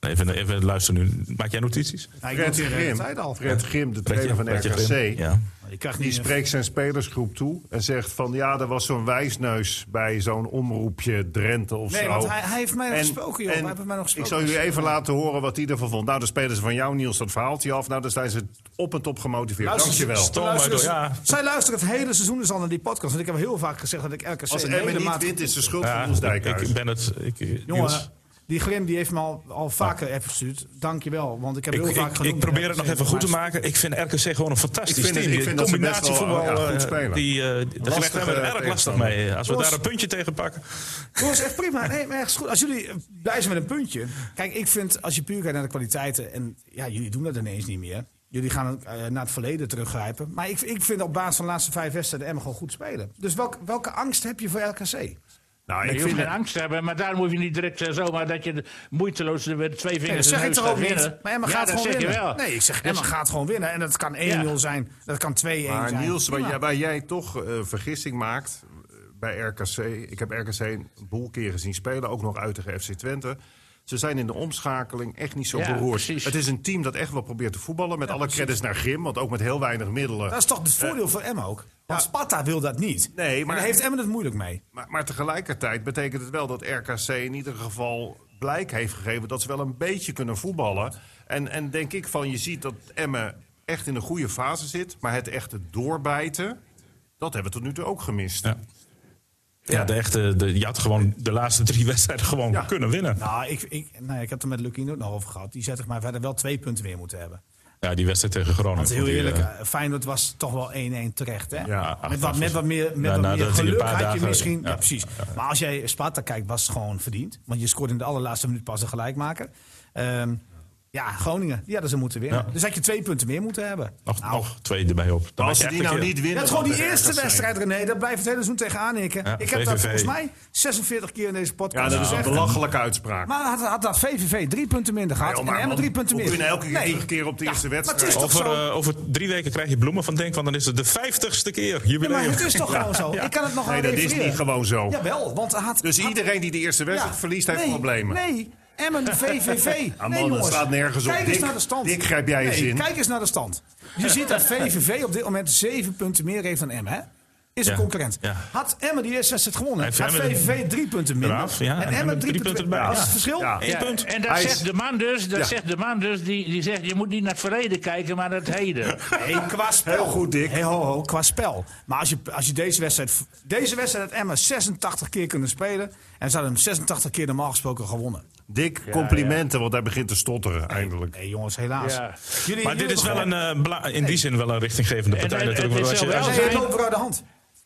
S2: Nee, Even, even luister nu. Maak jij notities?
S4: Nou, ik
S5: Fred
S4: noteer de hele
S5: Grim,
S4: tijd al.
S5: Fred Grim, de trainer van
S2: Pretje
S5: RKC,
S2: Grim. Ja.
S4: Ik krijg
S5: die
S4: niet
S5: spreekt zijn spelersgroep toe en zegt van ja, er was zo'n wijsneus bij zo'n omroepje Drenthe of
S4: Nee,
S5: zo.
S4: want hij- hij heeft mij nog
S5: En-
S4: gesproken, joh.
S5: en
S4: Hij heeft mij nog gesproken.
S5: Ik zal jullie even laten horen wat hij ervan vond. Nou, dan spelen ze van jou, Niels, dat verhaaltje af. Nou, dan zijn ze op en top gemotiveerd.
S4: Luister,
S5: Dankjewel.
S4: ze- ze
S2: Toon maar
S4: luisteren-
S2: door, ja.
S4: Zij luisteren het hele seizoen dus al naar die podcast. Want ik heb heel vaak gezegd dat ik RKC
S5: Als
S4: een
S5: Emmen
S4: hele
S5: niet
S4: maat-
S5: wint, is de schuld van
S2: Ja,
S5: Niels
S2: ik- ik
S5: Dijkhuis.
S2: ben het... Ik, Niels,
S4: Jongen, die Grim die heeft me al, al vaker even gestuurd. Dank je wel, want ik heb
S2: Ik,
S4: heel
S2: ik-
S4: vaak
S2: ik
S4: genoemd
S2: probeer het
S4: RKC,
S2: nog even goed te
S4: maar-
S2: maken. Ik vind RKC gewoon een fantastisch
S5: Ik vind het-
S2: team.
S5: ik
S2: Die
S5: vind dat ze best wel,
S2: combinatievoetbal
S5: ja,
S2: eh,
S5: goed spelen.
S2: die, eh daar
S5: Lastige
S2: leggen we het erg lastig
S5: tegenstander.
S2: mee. Als we
S4: Los.
S2: daar een puntje tegen pakken.
S4: Jongens, echt prima. Nee, maar echt goed. Als jullie eh, blij zijn met een puntje. Kijk, ik vind als je puur kijkt naar de kwaliteiten. En ja, jullie doen dat ineens niet meer. Jullie gaan eh, naar het verleden teruggrijpen. Maar ik, ik vind op basis van de laatste vijf wedstrijden Emmen gewoon goed spelen. Dus welk, welke angst heb je voor RKC?
S5: Nou,
S3: Nee,
S5: ik
S3: je hoeft
S5: vind
S3: geen angst te hebben, maar daar moet je niet direct eh, zomaar dat je de- moeiteloos er weer twee
S4: Nee, dat
S3: vingers
S4: zeg
S3: in
S4: ik
S3: de neus
S4: toch
S3: gaat
S4: ook niet.
S3: winnen.
S4: Maar Emma
S3: Ja,
S4: gaat
S3: dat
S4: gewoon
S3: zeg je
S4: winnen.
S3: wel. Dus
S4: Nee, ik zeg
S3: Dat
S4: Emma
S3: is-
S4: gaat gewoon winnen. En dat kan 1-0
S3: Ja.
S4: zijn. Dat kan 2-1 zijn.
S5: Maar Niels, waar
S4: Prima.
S5: jij, waar jij toch eh, vergissing maakt eh, bij RKC. Ik heb RKC een boel keren zien spelen, ook nog uit tegen FC Twente. Ze zijn in de omschakeling echt niet zo
S3: Ja,
S5: beroerd.
S3: precies.
S5: Het is een team dat echt wel probeert te voetballen. Met alle credits naar Grim, want ook met heel weinig middelen.
S4: Dat is toch het voordeel voor Emma ook? Want Sparta wil dat niet.
S5: Eh. Nee,
S4: En
S5: maar-
S4: daar heeft Emma het moeilijk mee.
S5: Maar, maar tegelijkertijd betekent het wel dat RKC in ieder geval blijk heeft gegeven dat ze wel een beetje kunnen voetballen. En, en denk ik van, je ziet dat Emmen echt in een goede fase zit. Maar het echte doorbijten, dat hebben we tot nu toe ook gemist.
S2: Ja. Ja, de echte, de, je had gewoon de laatste drie [laughs] wedstrijden gewoon
S5: Ja.
S2: kunnen winnen.
S4: Nou, ik, ik, nee, ik heb het er met Lukien ook nog over gehad. Die zegt toch maar verder wel twee punten weer moeten hebben.
S2: Ja, die wedstrijd tegen Groningen.
S4: Want heel
S2: die, eh,
S4: eerlijk, eh, Feyenoord was toch wel 1-1 terecht. Hè?
S5: Ja,
S4: met, wat, met wat meer, met
S2: Ja,
S4: wat
S2: nou,
S4: meer
S2: dat hij een
S4: geluk
S2: paar
S4: had je
S2: dagen-
S4: misschien. Ja,
S2: ja.
S4: precies. Maar als jij Sparta kijkt, was het gewoon verdiend. Want je scoorde in de allerlaatste minuut pas een gelijkmaker. Ehm, ja, Groningen, die hadden ze moeten winnen.
S2: Ja.
S4: Dus had je twee punten meer moeten hebben.
S2: nog,
S4: Nou,
S2: nog twee erbij op. Dan
S5: Maar
S2: had
S5: als ze
S2: je
S5: die
S2: echt
S5: nou
S2: een keer-
S5: niet winnen...
S4: Dat is gewoon die
S5: dan
S4: eerste
S5: RKC.
S4: wedstrijd, René. Daar blijft het hele seizoen tegenaan hikken.
S2: Ja,
S4: ik heb dat
S2: VVV.
S4: volgens mij 46 keer in deze
S5: Ja,
S4: podcast
S5: dat is een
S4: gezegd.
S5: belachelijke uitspraak.
S4: Maar had, had dat VVV drie punten minder gehad
S5: Ja,
S4: en
S5: maar
S4: Emmen
S5: man,
S4: drie punten
S5: we
S4: meer.
S5: kunnen nou elke keer terugkeren op de eerste
S4: maar het is
S5: wedstrijd.
S4: toch
S2: Over,
S4: zo-
S2: eh, over drie weken krijg je bloemen van Denk, want dan is het de vijftigste keer.
S4: Ja,
S2: Jubileum.
S4: maar het is toch gewoon zo.
S2: ja.
S4: Ik kan het nog
S5: Nee,
S4: aan
S5: dat is
S4: refereren.
S5: niet gewoon zo.
S4: Jawel, want hij had...
S5: Dus
S4: had-
S5: iedereen die de eerste wedstrijd
S4: Ja,
S5: verliest, heeft
S4: nee,
S5: problemen.
S4: Nee,
S5: [laughs]
S4: Emmen, VVV. nee,
S5: man, dat
S4: jongens.
S5: slaat nergens op.
S4: Kijk eens
S5: Dick-
S4: naar de stand.
S5: Dick, grijp jij eens
S4: Nee,
S5: in.
S4: Kijk eens naar de stand. Je ziet dat VVV op dit moment zeven punten meer heeft dan Emmen. hè? Is een
S2: Ja.
S4: concurrent.
S2: Ja.
S4: Had Emmen die eerste wedstrijd gewonnen,
S2: Heeft
S4: had
S2: Emmen-
S4: VVV drie punten minder.
S2: Eraf, ja, en
S4: en
S2: Emmen
S4: Emmen drie
S2: drie
S4: punten
S2: punten
S4: bij.
S2: erbij.
S4: Dat is het
S2: Ja.
S4: verschil.
S5: Ja.
S2: [laughs] Eén punt.
S3: En dat
S5: Hij is-
S3: zegt de man dus, dat
S5: Ja.
S3: zegt de man dus die, die zegt je moet niet naar het verleden kijken, maar naar het heden.
S4: Nee, qua spel.
S5: Heel goed, Dick.
S4: Hey, ho, ho, qua spel. Maar als je, als je deze wedstrijd... Deze wedstrijd had Emma 86 keer kunnen spelen. En ze hadden hem 86 keer normaal gesproken gewonnen.
S5: Dick, complimenten, want hij begint te stotteren eindelijk.
S4: Nee, jongens, helaas.
S3: Ja.
S4: Jullie,
S2: Maar dit
S4: jullie
S2: is wel een,
S4: hebben
S2: eh, bla- in die zin wel een richtinggevende
S3: En-
S2: partij
S3: en-
S2: natuurlijk.
S3: het
S2: want
S3: is
S2: als je,
S3: zo
S2: als
S4: gewoon-
S2: je-
S4: Nee, het loopt weer uit de hand.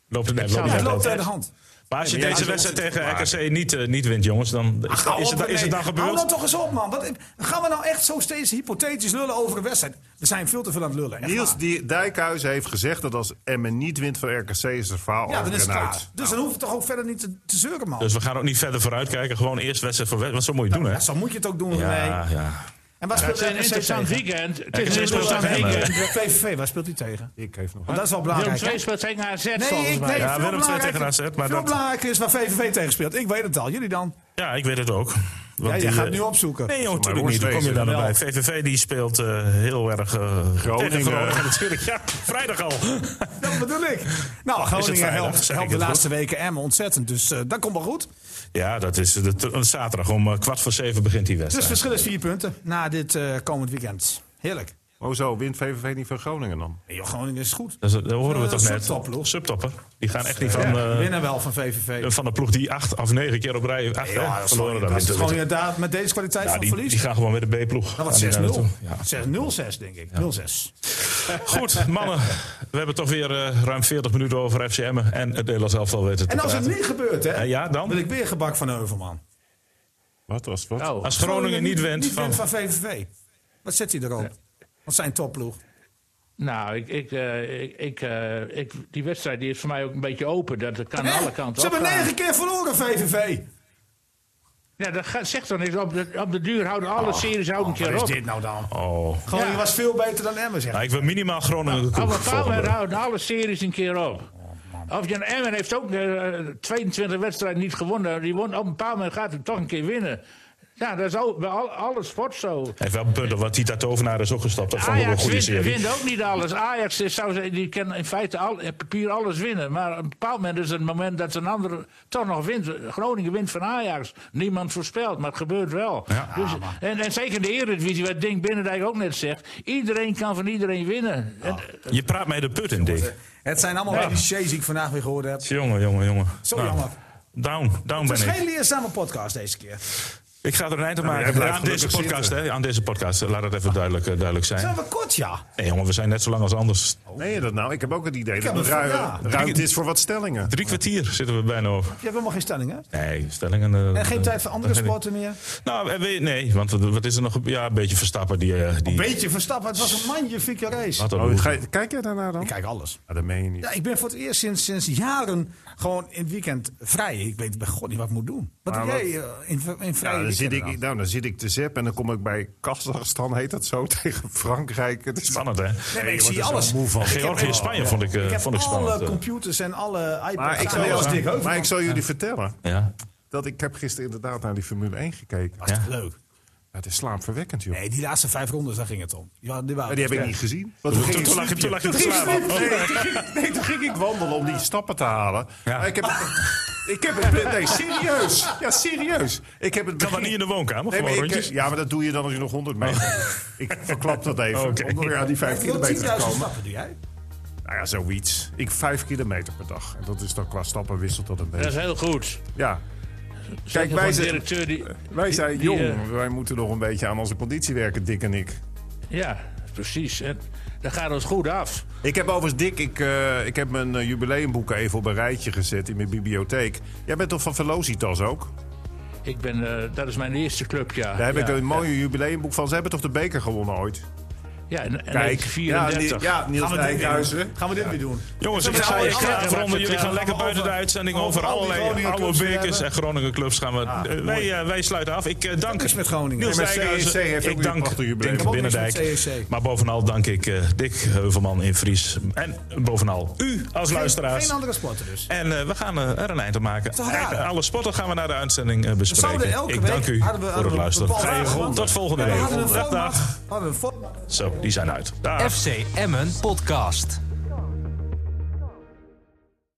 S2: loopt het, nee,
S3: zou-
S2: loopt
S4: Ja,
S2: het
S4: het
S3: dat
S4: loopt
S2: wel.
S4: uit de hand.
S2: Maar als je
S5: Ja,
S2: deze
S5: dat
S2: wedstrijd
S5: is-
S2: tegen RKC niet, eh, niet wint, jongens, dan is,
S4: Ach, Ah, hou
S2: is,
S4: op,
S2: het, is het
S4: nee.
S2: dan
S4: Hou
S2: gebeurd.
S4: nou toch eens op, man. Wat, gaan we nou echt zo steeds hypothetisch lullen over een wedstrijd? We zijn veel te veel aan het lullen. echt
S5: Niels
S4: waar.
S5: die Dijkhuizen heeft gezegd dat als Emmen niet wint van RKC, is het verhaal
S4: ja,
S5: over
S4: dan is
S5: en
S4: het klaar.
S5: uit.
S4: Dus dan hoeven we toch ook verder niet te, te zeuren, man.
S2: Dus we gaan ook niet verder vooruit kijken. Gewoon eerst wedstrijd voor wedstrijd. Want zo moet je het doen,
S4: Ja,
S2: hè?
S4: zo moet je het ook doen,
S2: Ja,
S4: René.
S2: ja.
S4: En waar
S3: Het
S4: speelt
S3: is een
S4: RKC
S3: interessant
S4: tegen?
S3: weekend. Het
S2: Kijk,
S3: is
S2: ze
S3: een
S2: speelt
S3: interessant
S2: tegen Emmen.
S3: weekend.
S4: PVV, waar speelt hij tegen?
S5: Ik geef nog
S4: Want dat is wel
S3: Willem
S4: belangrijk. hè?
S3: II speelt tegen AZ
S4: Nee,
S3: volgens
S4: ik,
S3: mij.
S4: nee
S2: Ja,
S4: veel
S2: Willem II
S4: belangrijker-
S2: tegen AZ, maar
S4: veel
S2: dat-
S4: belangrijker is waar VVV tegen speelt. Ik weet het al. Jullie dan?
S2: ja, ik weet het ook. Want
S4: Ja,
S2: die,
S4: jij
S2: eh,
S4: gaat nu opzoeken.
S2: Nee, joh,
S5: Maar
S2: natuurlijk niet. Hoe kom je daar nou
S4: Wel.
S2: bij? VVV die speelt eh, heel erg eh
S5: Groningen.
S2: tegen Groningen natuurlijk. Ja, vrijdag al.
S4: Dat bedoel ik. Nou, Groningen
S2: vrijdag?
S4: helpt,
S2: Zeg ik
S4: helpt de
S2: het
S4: laatste weken Emmen ontzettend. Dus eh, dat komt wel goed.
S2: Ja, dat is dat, een zaterdag om eh, kwart voor zeven begint die
S4: Dus het
S2: wedstrijd.
S4: verschil is vier punten na dit eh, komend weekend. Heerlijk.
S5: Hoezo, wint VVV niet van Groningen dan?
S4: Nee, joh, Groningen is goed.
S2: Dus dat, dat horen we
S4: Eh,
S2: toch net.
S4: subtopploeg.
S2: Subtopper. Die gaan echt niet van,
S4: Ja,
S2: eh,
S4: winnen wel van VVV.
S2: van de ploeg die acht of negen keer op rij acht, hè,
S4: Ja, dat
S2: verloren.
S4: is
S2: dan
S4: gewoon, dat is
S2: wint-
S4: gewoon inderdaad met deze kwaliteit
S2: ja,
S4: van
S2: die,
S4: verlies.
S2: die gaan gewoon weer de B-ploeg.
S4: dat
S2: Gaan die
S4: was
S2: daar
S4: 6-0.
S2: naartoe. Ja.
S4: 6-0-6 denk ik. 0-6.
S2: Goed, mannen. We hebben toch weer eh, ruim 40 minuten over FCM en het Nederlands elftal weten te
S4: En als het
S2: praten.
S4: niet gebeurt, hè,
S2: Eh, ja, dan?
S4: wil ik weer gebak van Heuvelman.
S5: Wat was wat?
S3: Oh.
S2: Als Groningen niet wint van...
S4: van VVV. Wat zet hij erop? Wat zijn topploeg?
S3: Nou, ik, ik, eh, ik, ik, eh, ik, die wedstrijd die is voor mij ook een beetje open. Dat dat kan
S4: Hè?
S3: alle kanten eh,
S4: Ze hebben
S3: opgaan.
S4: negen keer verloren, VVV.
S3: Ja, dat gaat- zegt dan eens, op de, op de duur houden alle series houden een keer
S4: Wat is
S3: op.
S4: dit nou dan?
S2: Oh.
S4: Groningen
S3: Ja.
S4: was veel beter dan Emmen, zeg.
S2: Nou, ik wil minimaal Groningen
S4: Nou,
S2: de koek
S3: Alle
S2: volgende.
S3: falen houden alle series een keer op. Of Jan Emmen heeft ook eh, 22 wedstrijden niet gewonnen. Die won, op een paar moment gaat hij toch een keer winnen. Ja, dat is ook bij al, alle sport zo.
S2: Hij heeft wel punten, want Tita Tovenaar is ook gestapt. Dat
S4: Ah,
S2: vond ik wel een
S3: Ajax
S2: goede
S3: wint,
S2: serie.
S3: wint ook niet alles. Ajax is, zou, zeggen, die kan in feite al, op papier alles winnen. Maar op een bepaald moment is het moment dat een ander toch nog wint. Groningen wint van Ajax. Niemand voorspelt, maar het gebeurt wel.
S2: Ja.
S3: dus, en, en zeker in de Eredivisie, wat Dink Binnendijk ook net zegt. Iedereen kan van iedereen winnen. En,
S2: Je praat mij de put in, Dick.
S4: Het zijn allemaal
S2: Ja.
S4: clichés die ik vandaag weer gehoord heb.
S2: Jongen, jongen, jongen.
S4: Zo
S2: Nou,
S4: jammer.
S2: Down, down
S4: Het is
S2: ben ik.
S4: geen leerzame podcast deze keer.
S2: Ik ga er een eind aan
S5: jij
S2: maken
S5: blijft
S2: aan deze
S5: gelukkig
S2: podcast. Hè, aan deze podcast, laat het even duidelijk, eh, duidelijk zijn.
S4: Zijn we kort, ja?
S2: Nee, jongen, we zijn net zo lang als anders.
S5: Meen je dat nou? Ik heb ook het idee
S4: Oh. heb
S5: dat er
S4: het-
S5: ru-
S4: ja.
S5: ruimte is voor wat stellingen.
S2: Drie kwartier zitten we bijna over.
S4: Je hebt helemaal geen stelling, hè?
S2: Nee, stellingen... eh,
S4: En geen
S2: eh,
S4: tijd voor andere
S2: dat weet ik.
S4: sporten meer?
S2: Nou, eh, weet- nee, want wat- wat is er nog? Ja, een beetje verstappen die... eh, die
S4: Beetje verstappen, het was een magnifieke race.
S2: Wat een
S5: Oh,
S2: loser.
S5: ga je- kijk jij daarnaar dan?
S4: Ik kijk alles.
S5: Ah, dat meen je niet.
S4: Ja, ik ben voor het eerst sinds, sinds jaren gewoon in het weekend vrij. Ik weet bij god niet wat ik moet doen. Wat
S5: Maar
S4: doe jij eh, in, in vrije
S5: Ja, dan, zit
S4: weekenden
S5: ik, nou, dan zit ik te zep en dan kom ik bij Kazachstan, heet dat zo, [laughs] tegen Frankrijk. Het is
S2: Spannend, hè?
S4: Nee, maar ik
S5: je
S4: zie
S5: wordt er
S4: alles.
S5: zo moe van.
S4: Ik heb-
S2: Georgië en Spanje vond ik, eh,
S4: Ik heb
S2: vond ik
S4: alle
S2: spannend. eh.
S4: computers en alle iPads.
S5: Maar ik,
S4: aan
S5: zal,
S4: alles dik.
S5: jou- maar ik zal jullie vertellen
S2: Ja,
S5: dat ik heb gisteren inderdaad naar die Formule 1 gekeken.
S4: Was toch leuk?
S5: Het is slaapverwekkend, joh.
S4: Nee, die laatste vijf rondes, daar ging het om. Ja, die,
S5: Ja,
S4: waren
S5: die heb ik
S4: sterk.
S5: niet gezien.
S2: Toen- toen- toen lag je- toen lag je te slapen. Oh.
S5: Nee, toen ging ik- Nee, toen ging ik wandelen om die stappen te halen.
S2: Ja.
S5: Maar ik heb... Ik heb het... Nee, serieus. Ja, serieus. Ik heb het
S2: kan dat
S5: begin-
S2: niet in de woonkamer,
S5: Nee, maar
S2: gewoon
S5: ik-
S2: rondjes.
S5: ja, maar dat doe je dan als je nog 100 meter. doet. Ik verklap dat even.
S2: Oké.
S5: Om weer aan die 5
S4: Heel 10.000
S5: kilometer te komen.
S4: stappen doe jij.
S5: Nou ja, zoiets. Ik 5 kilometer per dag. En dat is dan qua stappen wisselt dat een
S3: dat is
S5: beetje.
S3: heel goed.
S5: Ja. Kijk,
S3: Zeker
S5: wij
S3: voor een
S5: zijn,
S3: directeur die...
S5: wij zijn
S3: die,
S5: jong.
S3: eh,
S5: Wij moeten nog een beetje aan onze conditie werken, Dick en ik.
S3: Ja, precies. En dat gaat ons goed af.
S5: Ik heb overigens, Dick, ik, eh, ik heb mijn eh, jubileumboeken even op een rijtje gezet in mijn bibliotheek. Jij bent toch van Velocitas ook?
S3: Ik ben, eh, dat is mijn eerste club, ja.
S5: Daar heb ik
S3: Ja,
S5: een mooie jubileumboek van. Ze hebben toch de beker gewonnen ooit?
S3: Ja, en, en
S5: Kijk,
S3: 34.
S5: Ja, Ni- ja Niels
S4: Gaan we dit weer
S5: Dijkhuizen.
S4: doen? Gaan we dit weer doen?
S2: Jongens,
S4: Zo
S2: ik
S4: met
S2: ga
S4: alle
S2: ik ga
S4: clubs.
S2: afronden. Jullie gaan lekker
S4: Over-
S2: buiten de uitzending
S4: over
S2: over
S4: al die
S2: allerlei
S4: Groningen
S2: oude
S4: clubs die we
S2: bekers en
S4: hebben.
S2: Groningen clubs gaan we. eh, wij, eh, wij sluiten af. Ik eh, dank
S4: niks met Groningen.
S2: Niels
S5: Nee, maar
S2: Dijkhuizen.
S5: CEC heeft ook
S2: ik
S5: weer een
S2: dank
S5: prachtig jubileum.
S2: Dink
S4: Ik heb ook niks met
S2: Binnendijk.
S4: CEC.
S2: Maar bovenal dank ik eh, Dick Heuvelman in Fries. En bovenal u als luisteraars.
S4: Geen andere sporten dus.
S2: En eh, we gaan eh, er een eind aan maken.
S4: Toch raar,
S2: Eigenlijk
S4: hè?
S2: Alle sporten gaan we naar de uitzending eh, bespreken.
S4: zouden elke
S2: ik
S4: week
S2: dank u
S4: hadden we-
S2: voor
S4: hadden
S2: het
S4: we
S2: luisteren.
S4: bepaalde
S2: Geen
S4: vragen.
S2: rond. Tot volgende
S4: We hadden een
S2: week. Dag,
S4: format.
S2: dag.
S4: Hadden een format.
S2: Zo, die zijn uit. Dag.
S1: FC Emmen Podcast.